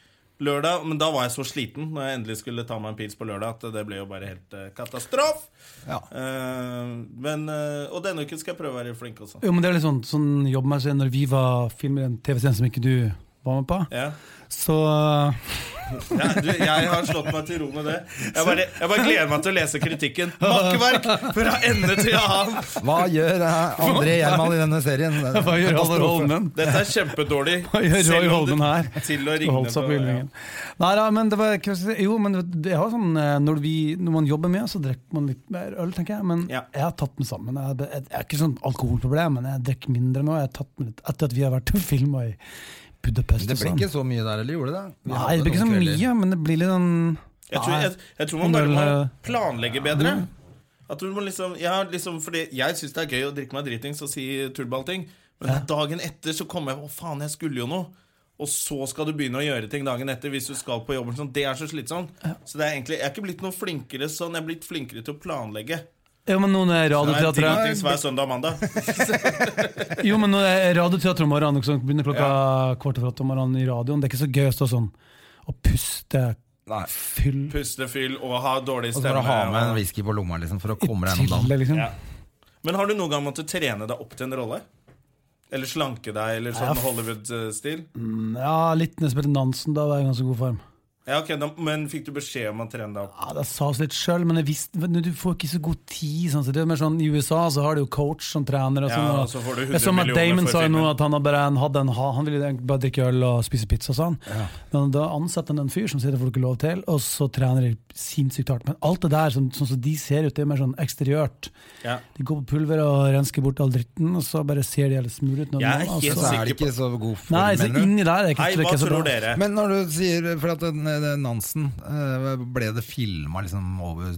A: Lørdag, Men da var jeg så sliten når jeg endelig skulle ta meg en pils på lørdag, at det ble jo bare helt eh, katastrof.
B: Ja.
A: Eh, men, eh, og denne uken skal jeg prøve å være flink også.
C: Jo, men det er litt sånn, sånn jobbmessig når vi var filmer en TV-scene som ikke du var med på.
A: Ja.
C: Så eh,
A: Ja, du, jeg har slått meg til ro med det. Jeg bare, jeg bare gleder meg til å lese kritikken. Makkverk fra ende til annen!
B: Hva gjør eh, André Gjerman i denne serien?
C: hva gjør Halvor Holmen?
A: Dette er kjempedårlig.
C: Hva gjør Roy
A: Selv om du-
C: Holmen her?
A: Til å
C: Og
A: ringe
C: holdt seg på
A: ja.
C: hyllingen. Nei da, men det var ikke- Jo, men det var sånn eh, Når, vi, når man jobber mye, så drikker man litt mer øl, tenker jeg. Men
A: Ja.
C: jeg har tatt den sammen. Jeg, jeg, jeg er ikke sånn alkoholproblem, men jeg drikker mindre nå. Jeg har tatt meg litt Etter at vi har vært og filma i Budapest
B: Det
C: og
B: ble
C: sånn.
B: ikke så mye der, eller gjorde det? Vi
C: Nei,
B: hadde
C: det blir ikke så
B: noen kvelder.
C: mye, men det blir litt sånn
A: Jeg tror, jeg, jeg tror man
C: Nei.
A: bare må planlegge bedre.
C: Mm.
A: At du må liksom, jeg har liksom fordi jeg syns det er gøy å drikke meg dritings og si tullballting, men dagen etter så kommer jeg Å, faen, jeg skulle jo noe. Og så skal du begynne å gjøre ting dagen etter hvis du skal på jobben. Sånn. Det er så slitsomt. Så det er egentlig, jeg er ikke blitt noe flinkere sånn. Jeg er blitt flinkere til å planlegge.
C: Jo, men noen
A: Det er sånn,
C: radioteatre
A: dritings hver søndag og mandag.
C: Jo, men når det er radioteater om morgenen, som begynner klokka kvart over åtte om morgenen i radioen, det er ikke så gøy å stå sånn og puste
B: Nei.
C: fyll
A: Puste fyll og ha dårlig
B: Og så
A: stemme.
B: bare ha med en
A: og-
B: whisky på lomma liksom, for å komme deg
C: til,
B: gjennom dagen.
C: liksom.
A: Ja. Men har du noen gang måttet trene deg opp til en rolle? Eller slanke deg, eller
C: Ja,
A: sånn
C: f-
A: Hollywood-stil?
C: Ja, litt når jeg spilte Nansen, da var jeg i ganske god form.
A: Ja, ok, da, Men fikk du beskjed om å trene deg opp?
C: Ja, Det sa oss litt sjøl, men jeg visste, men du får ikke så god tid. Sånn, så det er mer sånn, I USA så har du jo coach som trener. Og
A: Ja,
C: sånn, og,
A: og så får du 100
C: jeg så at
A: millioner
C: Damon
A: for
C: sa jo nå
A: filmen.
C: at han har bare han hadde en ha, Han ville egentlig bare drikke øl og spise pizza, sa han. Men da ansetter han en fyr som sier det får du ikke lov til, og så trener de sinnssykt hardt. Men alt det der, sånn sånn som de ser ut, det er mer sånn eksteriørt.
A: Ja.
C: De går på pulver og rensker bort all dritten, og så bare ser de hele smurete ut.
A: Jeg er helt
C: og
B: Så
C: så-
B: er det ikke så god form,
C: Nei, så
B: mener du?
C: inni der er ikke,
A: Hei,
C: tror
A: hva
C: jeg ikke er så
A: tror
C: bra.
A: dere?
B: Men når du sier For at den, den Nansen, eh, ble det filma liksom over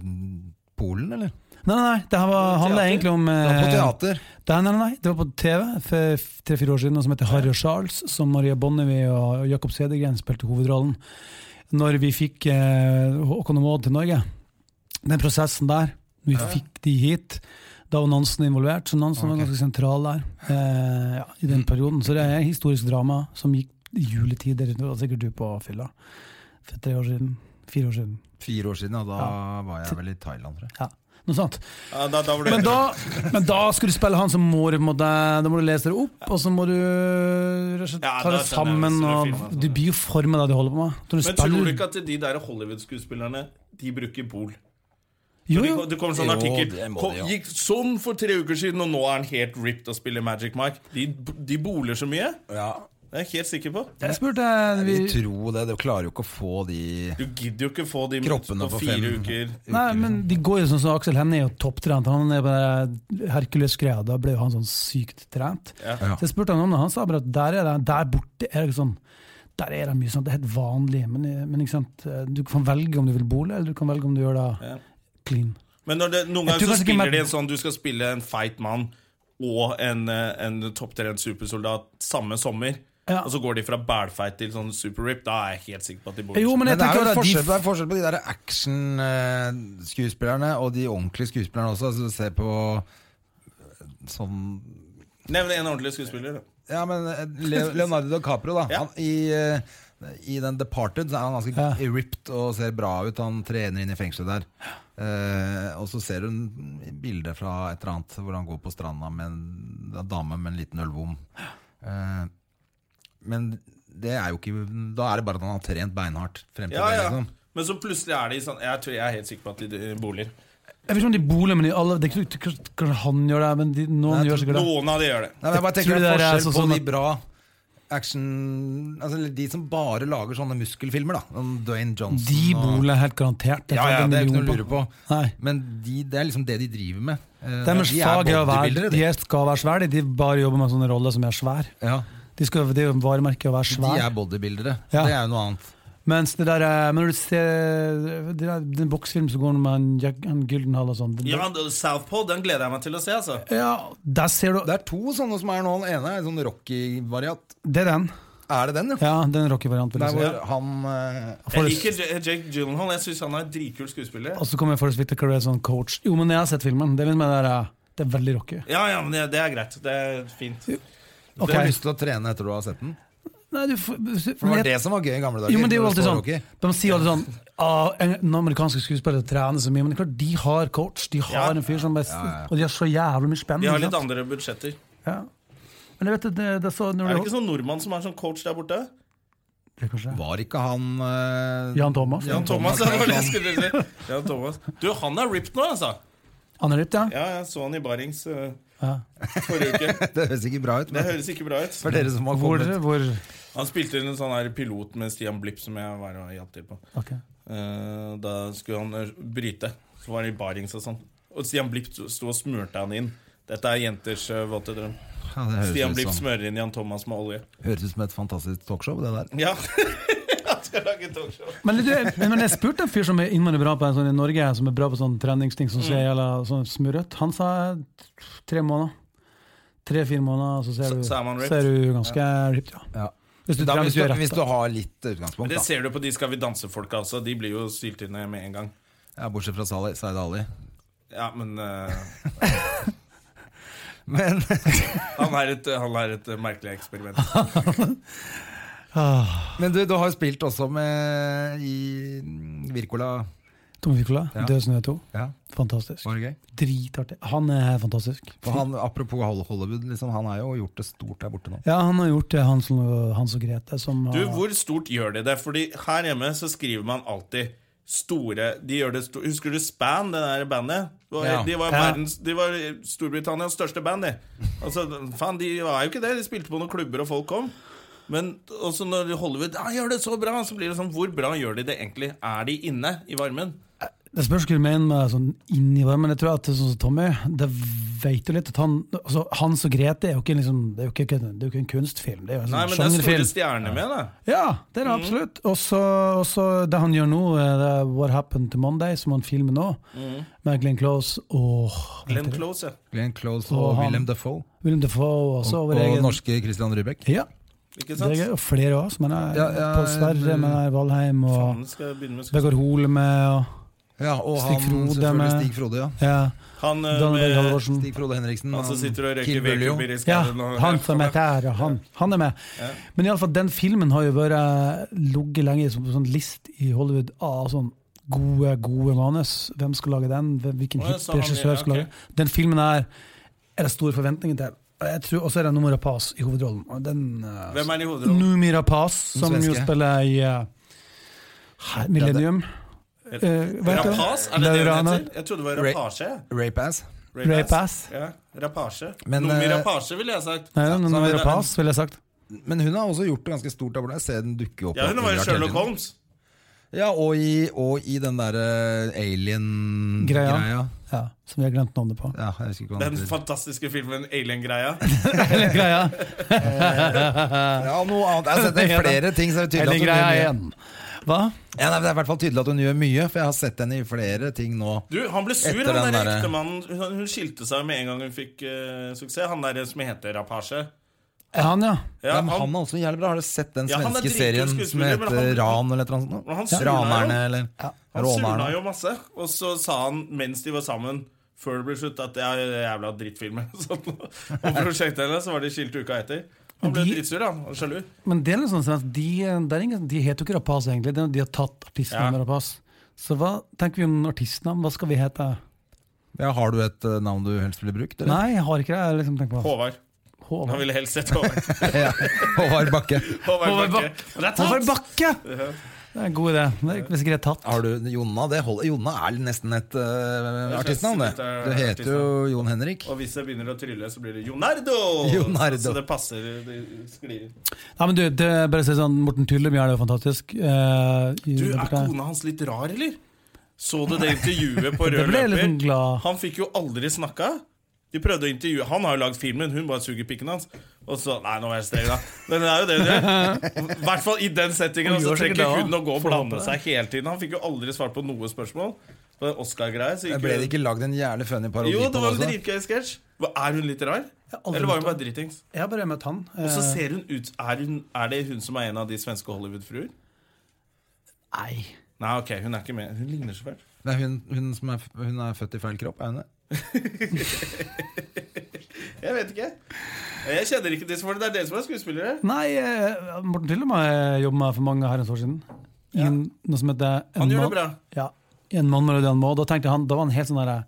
B: Polen, eller?
C: Nei, nei, nei, det her var, handler egentlig om
B: Det var på
C: eh,
B: teater.
C: Nei, nei, nei, det var på TV for tre-fire år siden, noe som heter Harry og Charles, som Maria Bonnevie og Jakob Cedergren spilte hovedrollen. Når vi fikk eh, Håkon og Maud til Norge, den prosessen der, vi fikk de hit, da var Nansen involvert, så Nansen var ganske sentral der eh, ja, i den perioden. Så det er et historisk drama som gikk i juletider, det var sikkert du på fylla, for tre år siden, fire år siden,
B: Fire år siden, og da var jeg vel i Thailand, tror jeg.
C: ja, noe sånt.
A: Ja, da, da var det
C: Men da, men da skal du spille han, så må du, på en måte, da må du lese det opp, og så må du rett og slett
A: Ja,
C: ta
A: da
C: det
A: skjønner
C: sammen.
A: jeg, hvis du filmer
C: Og,
A: sånn,
C: du blir jo formen av det du holder på med. Når du
A: Men tror
C: spiller-
A: du ikke at de der Hollywood-skuespillerne De bruker Bol?
C: jo,
A: Det
C: jo.
A: det kommer sånn
B: Jo,
A: artikkel
B: det må
A: "Kom-
B: de, ja."
A: Gikk sånn for tre uker siden, og nå er han helt ripped og spiller Magic Mike. De, de boler så mye. Det er jeg helt sikker på.
C: Jeg spurte eh, vi,
B: Vi tror det. Du klarer jo ikke å få de
A: Du gidder jo ikke få de
B: Kroppene
A: på
B: på
A: fire
B: fem.
A: uker.
C: Nei, men
A: liksom.
C: de går jo sånn som Aksel Hennie er jo topptrent. Han er på det der Hercules-greia. Da ble jo han sånn sykt trent.
A: Ja.
C: Så jeg spurte han om det, han sa bare at der, er det, der borte er det ikke sånn der er det mye sånn, det er helt vanlig, men, eh, men ikke sant? du kan velge om du vil bole, eller du kan velge om du gjør det
A: Ja.
C: clean.
A: Men når det, noen ganger så
C: tror kanskje ikke
A: spiller
C: Mad-
A: de en sånn Du skal spille en feit mann og en, eh, en topptrent supersoldat samme sommer.
C: Ja.
A: Og så går de fra bælfeit til sånn superrip. Da er jeg helt sikker på at de bor
C: Jo, men
B: Men
C: jeg
B: det er jo
C: tenker
B: en
C: at de
B: forskjell, det er forskjell på de der action-skuespillerne og de ordentlige skuespillerne også. Altså, se på eh, sånn
A: Nevn en ordentlig skuespiller. da.
B: Ja, men eh, Le- Leonardo DiCaprio, da.
A: Ja.
B: Han, i, eh, I den Departed så er han ganske
C: Ja.
B: ripped og ser bra ut. Han trener inn i fengselet der. Eh, og så ser hun bilder fra et eller annet hvor han går på stranda med en en dame med en liten ølbom. Eh, men det er jo ikke Da er det bare at han har trent beinhardt frem til
A: Ja,
B: det.
A: ja.
B: liksom
A: Men så plutselig er de sånn Jeg tror jeg er helt sikker på at de eh, boliger.
C: Jeg vet ikke om de boler, men de alle, det er ikke, kanskje, kanskje han gjør det, men de, noen
B: Nei, jeg
C: gjør sikkert det.
A: Noen av de gjør det.
B: Nei, men jeg bare
C: Tror
B: tenker
C: du
B: det er
C: det er
B: forskjell
C: sånn
B: på de
C: at-
B: bra action Altså De som bare lager sånne muskelfilmer, da. Sånn Dwayne Johnson
C: De
B: og-
C: boler helt garantert.
B: Ja, ja, det er ikke noe å lure på.
C: Nei.
B: Men de, det er liksom det de driver med. Eh,
C: Deres
B: de er
C: fag er å være,
B: bodybuildere,
C: de
B: de.
C: skal være svære, de bare jobber med sånne roller som er svær.
B: Ja,
C: De skal, det er jo varemerket å være
B: de
C: svær.
B: er bodybuildere.
C: Ja.
B: Det er jo noe annet.
C: Mens det der, eh, men når du ser det der, den boksfilmen som går med han, Jack- han Gyldenhall og sånn den-
A: Ja, Southpaw, den gleder jeg meg til å se, altså.
C: ja, der ser du
B: Det er to sånne som er nå. Den ene er en sånn Rocky-variant.
C: Det er den.
B: Er det den, ja?
C: Ja, den Rocky-varianten. vil
B: Der
C: jeg
B: hvor
C: si.
B: han eh,
A: Jeg liker J- Jake Gyllenhaal. Jeg syns han er en dritkul skuespiller.
C: Og så kommer Forrest Whittaker og er sånn coach. Jo, men jeg har sett filmen. Det er, liksom det der, eh, det er veldig Rocky.
A: Ja, ja, men det, det er greit. Det er fint.
C: Ok.
B: Du har lyst til å trene etter du har sett den?
C: Nei, du, får-
B: For det var det som var gøy i gamle dager.
C: Jo, men det er jo
B: når
C: alltid
B: det står
C: sånn
B: Rocky.
C: De sier alltid sånn ah, en- Den amerikanske skuespillere trener så mye, men det er klart, de har coach. De har
A: Ja.
C: en fyr som bare Og de har så jævlig mye spenn.
A: De har
C: ikke
A: litt
C: sant?
A: andre budsjetter.
C: Ja. Men jeg vet at det, det er så når
A: Er
C: du,
A: det ikke sånn nordmann som er sånn coach der borte?
C: Det er kanskje-
B: Var ikke han eh,
C: Jan Thomas?
A: Jan Thomas. ja, det var det jeg skulle si. Jan Thomas. Du, han er ripped nå, altså.
C: Han er litt, ja.
A: Ja, jeg så han i Barings eh,
C: ja.
A: forrige uke.
B: Det høres ikke bra ut.
A: Det
B: Men
A: høres ikke bra ut.
B: for dere som har
C: Hvor,
B: kommet
C: hvor
A: Han spilte en sånn her pilot med Stian Blipp, som jeg var og hjalp til på.
C: ok.
A: Eh, Da skulle han eh, bryte. Så var han i Barings og sånn. Og Stian Blipp sto og smurte han inn. Dette er jenters eh, våte drøm.
B: ja, Det
A: Stian Blipp
B: høres ut, som,
A: smører inn Jan Thomas med olje.
B: høres ut som et fantastisk talkshow, det der.
A: Ja, han skal lage talkshow.
C: Men, du, jeg- men jeg spurte en fyr som er innmari bra på en sånn i Norge, som er bra på sånn treningsting som
A: Mm.
C: ser jævla sånn smurrete. Han sa tre måneder. Tre-fire måneder, så ser
A: Så-
C: du,
A: så er man ripped.
C: ser du ganske ripped, ja.
B: Ja.
C: Hvis du,
B: Da,
C: trener,
B: hvis,
C: du
B: du,
C: gjør rett,
B: hvis
C: da.
B: du har litt
A: Men
B: utgangspunkt,
A: Det
B: da.
A: ser du på de Skal vi danse-folka også. De blir jo stilt inn med en gang.
B: Ja, bortsett fra Sali- Zaid Ali.
A: Ja, men eh,
B: Men
A: han, er et, han er et eh, merkelig eksperiment.
B: Men du, du har jo spilt også med i Virkola.
C: Tom Wirkola,
B: Ja.
C: Død snø 2.
B: Ja,
C: Fantastisk.
B: var det gøy?
C: Dritartig. Han er fantastisk.
B: For han, apropos Hol- Hollywood, liksom, han har jo gjort det stort der borte nå.
C: Ja, han har gjort det, Hans og, Hans og Grete. Som, eh,
A: Du,
C: har-
A: Hvor stort gjør de det? Fordi her hjemme så skriver man alltid store de gjør det sto Husker du Span, det der bandet? Det var-
B: Ja.
A: De var,
C: Ja.
A: verdens, de var Storbritannias største band, de. Altså, faen, de var jo ikke det. De spilte på noen klubber, og folk kom. Men også når Hollywood ja, gjør det så bra, så blir det sånn Hvor bra gjør de det egentlig? Er de inne i varmen?
C: Det spørs hva du mener med sånn inni hverandre, men jeg tror at det er sånn som Tommy, det vet du litt at han altså, Hans og Grete er jo ikke, en liksom, det er jo ikke, det er jo ikke en kunstfilm, det er jo en
A: Nei,
C: sånn
A: men det er Mhm. store
C: sjangerfilm.
A: stjerner med, da.
C: Ja, det er det absolutt. Og så- Og så det han gjør nå, eh, det er What Happened to Monday, som han filmer nå,
A: Mhm.
C: med Glenn Close og
A: Glenn Close, ja.
B: Glenn Close
C: Og
B: og
C: han-
B: William Defoe.
C: Willem Dafoe og
B: Og,
C: så
B: og
C: vår egen
B: norske Christian Rybek.
C: Ja,
A: Ikke
C: det
A: sant?
C: er gøy. Og flere òg, som han er.
B: Ja, ja,
C: Pål Sverre,
B: men-
C: men er Valheim og
A: Faen, skal jeg begynne med skuespill?
C: Vegard Hole med og
B: Ja, og
C: Stig
B: han
C: Frode
B: selvfølgelig
C: med- Mm.
B: Stig Frode, ja.
C: ja,
A: Han, eh,
C: Daniel Berg
A: med,
C: Halvorsen.
B: Stig Frode Henriksen.
A: han som sitter og røyker
B: Kill Bill, jo.
A: vedkubber i
C: Ja,
A: skauen. og-
C: han som er der, og han, han er med. Men i alle fall, den filmen har jo vært ligget lenge som en sånn list i Hollywood av sånn gode, gode manus. Hvem skal lage den? Hvem-
A: Å,
C: Hvilken
A: ja,
C: hit
A: så han-
C: regissør skal
A: ja,
C: lage
A: ok.
C: den? Den filmen er, er det store forventninger til. Og jeg tror- Og så er det Noomi Rapaz i hovedrollen. Og den, eh,
A: Hvem er det i hovedrollen?
C: Noomi Rapaz, som jo
B: svenske.
C: spiller i eh, her- Millennium. Eh, hva heter det?
A: Rapas? Er det det hun
C: Laurana-
A: heter? Jeg trodde det var rapasje.
B: Rape ass.
C: Rapass.
A: Ja, rapasje.
B: Men,
A: Noe med
B: eh,
A: rapasje, ville jeg sagt.
C: Nei,
A: så
C: Noomi
A: er det-
C: Rapaz, ville jeg sagt.
B: Men hun har også gjort det ganske stort der borte. Jeg ser den dukke opp.
A: Ja, hun var jo
B: overalt hele
A: Sherlock
B: tiden.
A: Holmes.
B: Ja, og i, og i den derre
C: Greia.
B: alien-greia.
C: Ja, som vi har glemt navnet på.
B: Ja, jeg husker ikke hva den
A: Den
B: heter.
A: fantastiske filmen Alien-greia.
C: Greia.
B: Ja, noe annet. Jeg har sett det i flere ting, så er det
C: Eller
B: tydelig at
C: greia
B: hun gjør mye.
C: igjen. Hva?
B: Ja, nei, men det er i hvert fall tydelig at hun gjør mye, for jeg har sett henne i flere ting nå.
A: Du, han ble sur,
B: Etter
A: han
B: den
A: der
B: derre-
A: ektemannen. Hun, hun skilte seg med en gang hun fikk eh, suksess. Han der som heter Rapasje.
C: Er han, ja?
A: Ja,
B: Nei, men han er også jævlig bra. Har du sett den
A: Ja, han er
B: svenske
A: dritkul
B: serien som
A: skuespiller,
B: heter
A: men han-
B: Ran eller et eller annet?
A: Men han
B: sånt?
A: surna jo.
B: Ranerne eller
A: han surna
B: Rånerne.
A: jo masse. Og så sa han mens de var sammen, før det ble slutt, at det er jævla drittfilmer. Sånn. Og prosjektet hennes så var de skilt uka etter. Han ble
C: Men de-
A: dritsur, han. Og sjalu.
C: Men det er litt sånn at de, det er ingen, de heter jo ikke Rapace, egentlig. Det er- De har tatt artistnavnet
A: Ja.
C: Rapace. Så hva tenker vi om artistnavn? Hva skal vi hete?
B: Ja, har du et eh, navn du helst ville brukt? Eller?
C: Nei, jeg har ikke det. Jeg liksom tenker på
A: Håvard. Han
C: Håvard.
A: ville helst sett Håvard.
B: Ja. Håvard Bakke.
A: Håvard
C: Håvard
A: Bakke. Og det er tatt!
C: Håvard Bakke! Det er en god idé. Det er, hvis ikke det er tatt.
B: Har du Jonna? Det holder. Jonna er nesten et eh,
A: Det er
B: artistnavn, det.
A: slags- det er
B: Du heter jo Jon Henrik.
A: Og hvis jeg begynner å trylle, så blir det Jonardo!
B: Jonardo.
A: Så det passer. Det sklir.
C: Nei, men du, det, er bare å si sånn, Morten Tyllebjørn er jo fantastisk. Eh, i-
A: Du, er kona hans litt rar, eller? Så du det intervjuet på
C: Det
A: rød
C: ble jeg litt sånn
A: løper?
C: glad.
A: Han fikk jo aldri snakka. De prøvde å intervjue Han har jo lagd filmen, hun bare suger pikken hans. Og så Nei, nå er jeg streng, da. Men det er jo det hun gjør. I hvert fall i den settingen. Og så
C: gjør sikkert
A: trekker
C: det,
A: hun
C: da.
A: å gå og
C: Får håpe
A: blande
C: det.
A: seg hele tiden. Han fikk jo aldri svart på noe spørsmål. På den Oscar-greia. så gikk
B: Ble det
A: hun-
B: ikke lagd en jævlig funny parodi
A: Jo,
B: på
A: det var en
B: også?
A: dritgøy sketsj. Hva, Er hun litt rar?
C: aldri
A: Eller var hun
C: møtt
A: bare dritings?
C: Jeg har bare møtt han.
A: Og så
C: Eh,
A: ser hun ut Er, hun, er det hun som er en av de svenske Hollywood-fruer?
C: Nei.
A: Nei, ok, hun er ikke med. Hun ligner så fælt.
B: Det er hun, hun, som er, f- hun er født i feil kropp, er hun det?
A: Jeg vet ikke. Jeg kjenner ikke disse folkene. Det er dere som er skuespillere.
C: Nei, eh, Morten Tillemar jobba med for mange herrens år siden. I en, noe som heter en
A: Han gjør det
C: mann-
A: bra.
C: Ja, I En mann mellom det han må. Da tenkte han, da var han helt sånn derre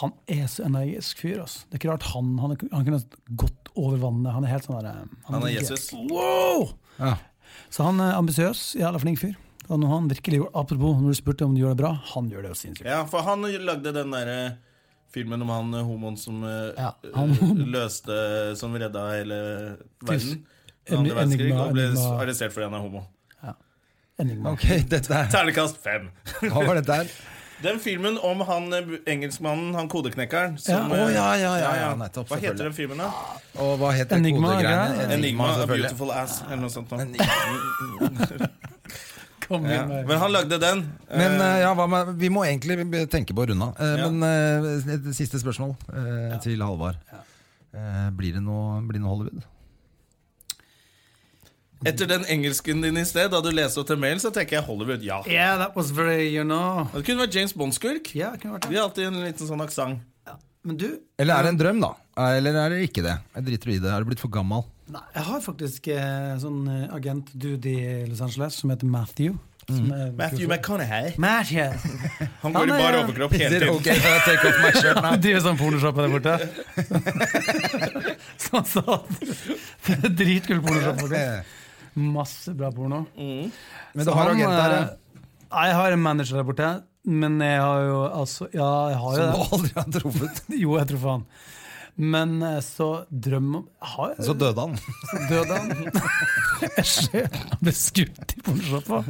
C: Han er så energisk fyr, ass. Det er ikke rart han Han, er- han kunne gått over vannet. Han er helt sånn derre
A: Han er Jesus.
C: Wow!
B: Ja.
C: Så han er ambisiøs, jævla flink fyr. Og når han virkelig gjorde, apropos når du spurte om du gjør det bra, han gjør det jo sinnssykt.
A: Ja, for han lagde den derre filmen om han eh, homoen som eh,
C: Ja,
A: eh,
C: han-
A: løste Som redda hele verden.
C: Tusen-
A: Den andre
C: Enigma-
A: verdenskrig, og ble
C: Enigma-
A: arrestert fordi han er homo.
C: Enigma.
B: Ok, dette er,
A: Ternekast fem.
B: hva var dette her?
A: Den filmen om han eh, engelskmannen, han kodeknekkeren som,
C: Ja, å,
A: eh,
B: ja, ja, ja, ja, nettopp,
A: Hva heter
B: selvfølgelig.
A: den filmen, da?
B: Og hva heter
C: Enigma,
B: kodegreiene?
C: ja.
A: Enigma, A
B: selvfølgelig.
A: Beautiful Ass, eller noe sånt. Nå.
C: Kom
A: Ja.
C: igjen. med-
A: Men han lagde den. eh,
B: Men eh, ja, hva med, vi må egentlig be- tenke på å runde av. Eh,
A: Ja.
B: Men eh, et siste spørsmål eh, til Halvard. Eh, blir, det noe, blir det noe Hollywood?
A: Etter den engelsken din i sted, da du leste opp til mailen, så tenker jeg Hollywood, ja.
C: Yeah, that was very, you know
A: Det kunne vært James Bond-skurk.
C: Ja, det kunne vært
A: De
C: det.
A: har alltid en liten sånn aksent.
C: Men du,
B: Eller er det en drøm, da? Eh, Eller er det ikke det? Jeg driter i det. Er du blitt for gammel?
C: Nei, jeg har faktisk eh, sånn eh, agent dude i Los Angeles som heter Matthew. Som er,
A: Matthew McConaughey.
C: Matthew!
A: Han
C: Han
A: går i
C: er-
A: bar overkropp hele
B: Is it
A: tiden.
B: okay if I take off my shirt now?
C: Han driver sånn pornoshoppe der borte. Så han sa at det er dritkul pornoshoppe. faktisk. Masse bra porno.
B: Men du har
C: han,
B: agent der, ja.
C: eh, Nei, jeg har en manager der borte. Men jeg har jo altså Ja, jeg har jo
B: Som
C: det.
B: du aldri har truffet.
C: Jo, jeg tror faen. Men eh, så drøm om har jeg-
B: Så døde han.
C: Døde han? Jeg ble skutt i pornoshoppa.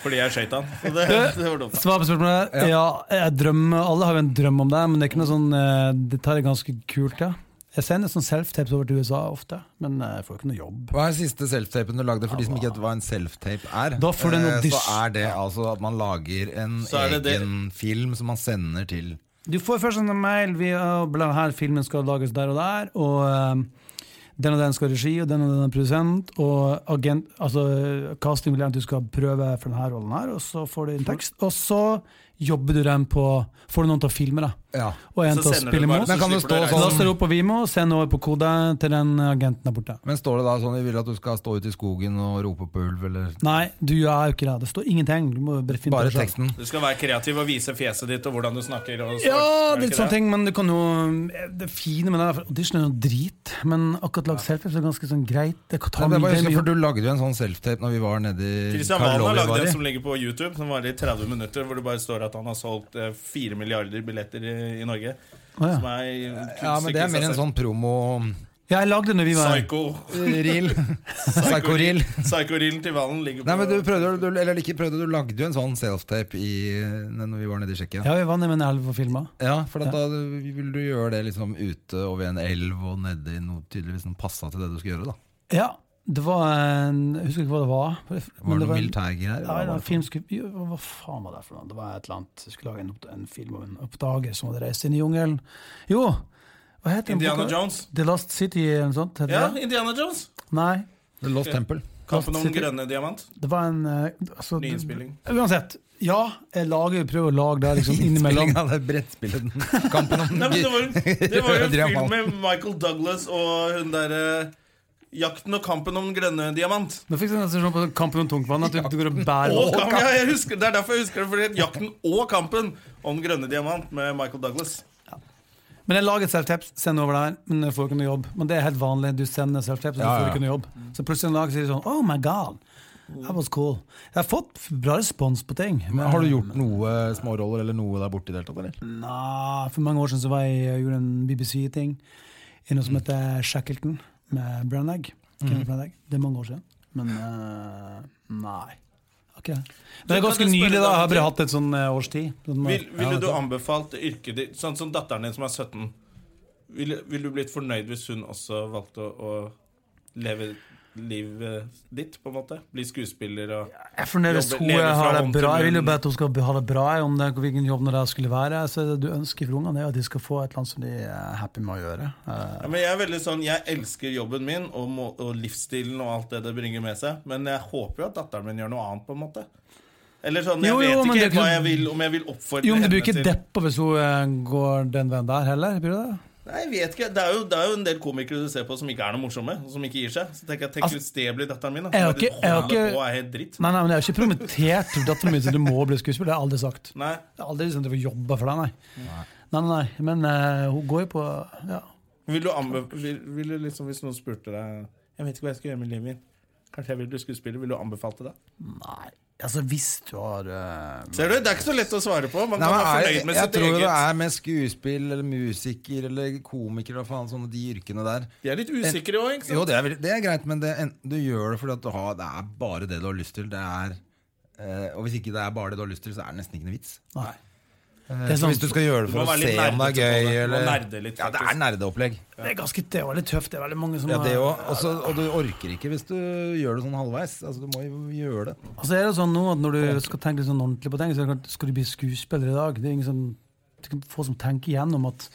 A: Fordi jeg skøyt han. Så det, det var dumt.
C: Svar på spørsmålet. Ja, jeg drømmer, alle har jo en drøm om det, men det er ikke noe sånn eh, Det tar jeg ganske kult, ja. Jeg sender sånn self-tapes over til USA ofte, men eh, jeg får ikke noe jobb.
B: Hva er den siste selftapen du lagde? For de som ikke vet hva en selftape er,
C: Da får du en
B: eh, så
C: audition.
B: er det altså at man lager en
A: Så er det det-
B: egen film som man sender til
C: Du får først en mail via denne filmen skal lages der og der, og eh, den og den skal ha regi, og den og den er produsent, og agent, altså eh, casting vil gjerne at du skal prøve for denne rollen her, og så får du en tekst, og så jobber du den på Får du noen til å filme, da.
B: Ja.
C: Og en
A: Så
C: til å
A: sender du
C: spille
A: bare,
C: med
A: så
B: Men kan det
A: slipper du
B: stå
A: å reise.
B: sånn-
C: Laster opp på Vimo og send over på kode til den agenten der borte.
B: Men står det da sånn vi vil at du skal stå ute i skogen og rope på ulv, eller
C: Nei, du er jo ikke det. Det står ingenting. Du må bare finne
B: bare sånn.
C: det
B: teksten?
C: selv.
A: Du skal være kreativ og vise fjeset ditt og hvordan du snakker. Og svart.
C: Ja,
A: Er det
C: litt
A: ikke
B: sånn
C: sånne ting, men du kan jo Det fine med det er at audition er noe drit, men akkurat lag selfies er ganske sånn greit. Det kan ta
B: Nei, det var
C: mye-
B: husker, for
C: mye-
B: Du lagde jo en sånn selftape når vi var nede i
A: Christian Valen har lagd
B: Karlovy
A: en
B: var
A: som ligger på YouTube, som varer i 30 minutter, hvor det bare står at han har solgt eh, 4 milliarder billetter i, i Norge.
C: Å, ja.
A: Som er kunststykke
B: Ja, men det
A: i
B: er
A: seg
B: mer en
A: selv.
B: sånn promo-reel.
C: Ja, jeg lagde det når vi var
A: Psycho.
B: Eh, Psycho-reel.
A: Psycho-reelen til Valen ligger på
B: Nei, men du prøvde, jo- du, eller ikke prøvde, du lagde jo en sånn selftape i, når vi var nede i Tsjekkia. Ja.
C: Ja, vi var nede med en elv og filma.
B: for at da ville du gjøre det liksom ute og ved en elv og nede i noe tydeligvis som passa til det du skulle gjøre. da
C: Ja, det var en Jeg husker ikke hva det var. men
B: Var det noe
C: en-
B: militærgreier?
C: Ja,
B: eller hva var
C: det var en
B: det?
C: filmskup- jo, Hva faen var det for noe? Det var et eller annet Jeg skulle lage en, opp- en film om en oppdager som hadde reist inn i jungelen. Jo! Hva heter den
A: Indiana
C: boka?
A: Jones.
C: The Last City eller noe sånt? Heter
A: Ja,
C: det?
A: Indiana Jones.
C: Nei.
B: The Lost Temple.
A: Kampen om den
C: City.
A: grønne diamant.
C: Det var en eh, altså,
A: Nyinnspilling.
C: Uansett. Ja, jeg lager, prøver å lage det liksom innimellom.
B: Innspilling av det brettspillet. Kampen om
A: Nei, men det var, jo- det var jo en film
B: Diamant.
A: med Michael Douglas og hun derre Jakten og kampen om den grønne diamant.
C: Nå fikk jeg en sensasjon på Kampen om tungtvann. At du, du går og bærer
A: Og
C: opp.
A: kamp, ja, jeg husker, det er derfor jeg husker det. Fordi at jakten og kampen om den grønne diamant med Michael Douglas.
C: Men jeg lager et self-taps, sender over der, men jeg får ikke noe jobb. Men det er helt vanlig. Du sender self-taps, og du
B: Ja, ja. Mm.
C: får ikke noe jobb. Så plutselig en dag sier de sånn Oh my god, that was cool. Jeg har fått bra respons på ting.
B: Men Har du gjort noe småroller eller noe der borte i det hele tatt, eller?
C: Nei, for mange år siden så var jeg, jeg gjorde en BBC-ting i
A: Mm.
C: noe som heter Shackleton med Branagh. Kenneth Branagh. Det er mange år siden. Men eh, nei. Ok. Det
A: kan
C: er ganske
A: du spørre
C: nylig, da. Jeg har
A: deg-
C: bare hatt et sånn eh, års tid. Sånn, eh,
A: Vil,
C: ja,
A: ville
C: vet
A: du anbefalt yrket ditt Sånn som datteren din som er 17. Ville vil du blitt fornøyd hvis hun også valgte å, å leve livet ditt, på en måte? Bli skuespiller og
C: Jeg er fornøyd hvis
A: Jobbe-
C: hun
A: leve fra
C: har det
A: hånd til
C: bra. Jeg vil jo
A: munn.
C: bare at hun skal ha det bra. Om det, hvilken jobb det skulle være. Så det du ønsker for ungene, er jo at de skal få et eller annet som de er happy med å gjøre. Eh,
A: ja, men Jeg er veldig sånn, jeg elsker jobben min og, må, og livsstilen og alt det det bringer med seg, men jeg håper jo at datteren min gjør noe annet, på en måte. Eller sånn, Jeg
C: Jo, jo,
A: vet
C: men
A: ikke
C: det er
A: helt
C: ikke
A: hva
C: så-
A: jeg vil, om jeg vil oppfordre
C: Jo, men du blir
A: henne
C: ikke
A: til
C: deppa hvis hun eh, går den veien der heller? Blir du det?
A: Nei, jeg vet ikke, det er, jo, det er jo en del komikere du ser på som ikke er noe morsomme, og som ikke gir seg. Så tenker jeg, tenk
C: Altså,
A: hvis det blir datteren min, da.
C: jeg har
A: Som bare
C: ikke- jeg har
A: holder
C: ikke-
A: på og er helt dritt.
C: Nei, nei, men jeg har ikke promotert datteren min til du må bli skuespiller. Det har jeg aldri sagt.
A: Nei.
C: Jeg har aldri liksom, jobba for deg, nei. Nei, nei, nei. Men eh, hun går jo på ja.
A: Vil du anbe- vil, vil du liksom, Hvis noen spurte deg Jeg vet ikke hva jeg skal gjøre med livet mitt, kanskje jeg vil bli skuespiller, vil du anbefalt det? da?
C: Nei, altså hvis du har eh,
A: Ser du, Det er ikke så lett å svare på. Man
B: Nei,
A: kan
B: men
A: være
B: er,
A: fornøyd med
B: jeg
A: sitt
B: tror
A: eget.
B: det er med skuespill eller musiker eller komiker eller hva faen, sånne de yrkene der.
A: De er litt usikre òg, ikke sant?
B: Jo, det er, vel- det er greit, men det, enten du gjør det fordi at du har, det er bare det du har lyst til. Det er, eh, og hvis ikke det er bare det du har lyst til, så er det nesten ikke noe vits.
C: Nei.
B: Eh,
C: Det er
B: så
C: sånn-
B: hvis du skal gjøre det
A: Du må
B: for å
A: være
B: se
A: litt
B: om det er
A: nerdete på det.
B: gøy
A: Du må
B: eller,
A: nerde litt,
B: Ja, det
A: faktisk.
B: er nerdeopplegg.
C: Det er ganske det er veldig tøft. Det er veldig mange som
B: Ja, det
C: eh,
B: også. Også, og du orker ikke hvis du gjør det sånn halvveis. Altså, du må jo gjøre det.
C: Og så er det sånn nå at når du skal tenke litt sånn ordentlig på ting, så er det klart, skal du bli skuespiller i dag. Det er ingen som, det er ikke få som tenker igjennom at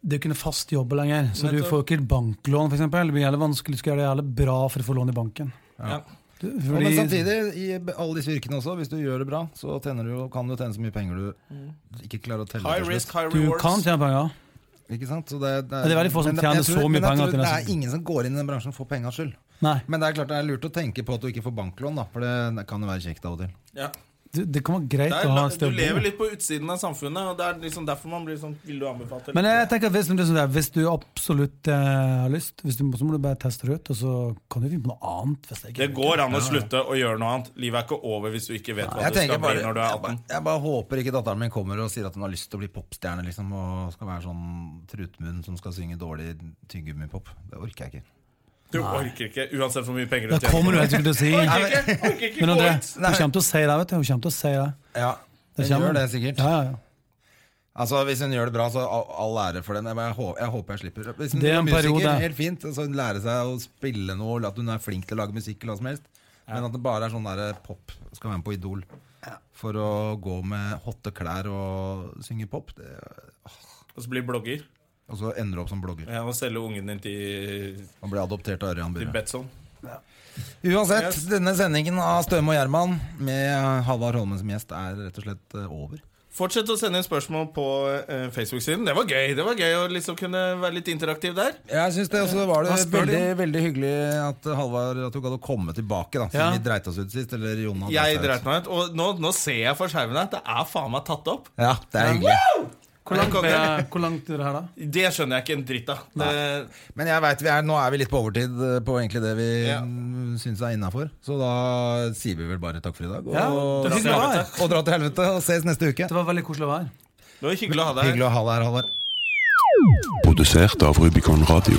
C: det er ikke noe fast jobb lenger. Så du får ikke banklån, f.eks. Det blir jævlig vanskelig. Du skal gjøre det jævlig bra for å få lån i banken.
A: Ja.
C: Du-
B: Og, men
C: fordi-
B: samtidig, i b- alle disse yrkene også, hvis du gjør det bra, så tjener du, jo- kan du tjene så mye penger du ikke klarer å telle
A: Mm. High
B: til
A: risk,
B: slutt.
A: high
C: du kan
A: rewards.
C: tjene penger.
B: Ikke sant? Så det,
C: det er veldig få som
B: men-
C: tjener
B: jeg tror-
C: så mye
B: men jeg
C: penger
B: tror
C: at de
B: Det
C: nesten-
B: er ingen som går inn i den bransjen for pengas skyld.
C: Nei.
B: Men det er klart det er lurt å tenke på at du ikke får banklån, da, for det, det kan jo være kjekt av og til.
A: Ja.
C: Det, det kan være greit
A: Det
C: å ha
A: er,
C: et sted
A: du
C: å bo.
A: lever litt på utsiden av samfunnet, og det er liksom derfor man blir sånn Vil du anbefale det?
C: Men jeg tenker at hvis, det er sånn der, hvis du absolutt eh, har lyst, hvis du, må- så må du bare teste det ut. Og så kan du finne på noe annet. Hvis det, ikke
A: Det går an å slutte å gjøre noe annet. Livet er ikke over hvis du ikke vet hva
B: Jeg,
A: du
B: tenker
A: skal
B: bare,
A: bli
B: jeg,
A: når du er
B: bare,
A: 18.
B: jeg bare håper ikke datteren min kommer og sier at hun har lyst til å bli popstjerne, liksom, og skal være sånn trutmunn som skal synge dårlig tyggegummipop. Det orker jeg ikke.
A: Du orker ikke, uansett hvor mye penger du
C: Da kommer du helt sikkert til å si
A: Orker ikke, orker ikke
C: Men
A: gå
C: André,
A: ut.
C: hun kommer til å si det. vet du Hun kommer til å si det.
B: Ja,
C: Det
B: Hun
C: kommer.
B: gjør det sikkert.
C: Ja, ja, ja.
B: Altså Hvis hun gjør det bra, så all- all ære for den. Jeg, bare hå- jeg håper jeg slipper. Hvis hun
C: Det er
B: er
C: en
B: musiker,
C: periode.
B: helt fint. Altså, hun lærer seg å spille noe, eller at hun er flink til å lage musikk, eller hva som helst. Men at det bare er sånn der pop skal være med på Idol for å gå med hotte klær og synge pop, det,
A: Og så blir blogger.
B: og så ender du opp som blogger
A: Ja, og selge ungen din til,
B: og blir adoptert av Ørjan
A: til
B: Burre.
A: Betson.
B: Uansett,
A: Yes.
B: denne sendingen av Støme og Gjerman med Halvard Holmen som gjest er rett og slett eh, over.
A: Fortsett å sende inn spørsmål på eh, Facebook-siden. Det var gøy det var gøy å liksom kunne være litt interaktiv der.
B: Jeg synes det også var det
A: Hva spør
B: veldig, veldig hyggelig at eh, Halvard at du gadd å komme tilbake. da Siden
C: Ja.
B: vi dreit oss ut sist. Eller Jon hadde seg
A: Jeg
B: ut.
A: dreit meg ut. Og nå, nå ser jeg for skjermen at det er faen meg tatt opp.
B: Ja, det er hyggelig.
C: Hvor langt er hvor langt er det her, da?
A: Det skjønner jeg ikke en dritt av. Det-
B: Men jeg vet, vi er, nå er vi litt på overtid eh, på egentlig det vi
A: Ja.
B: mm, syns er innafor. Så da sier vi vel bare takk for i dag. Og,
C: Ja,
B: og,
C: dra til helvete.
B: dra til helvete. Og ses neste uke.
C: Det var veldig koselig å være her.
A: Det var hyggelig å ha deg her.
B: Hyggelig å ha deg her, Halvard.
D: Produsert av Rubicon Radio.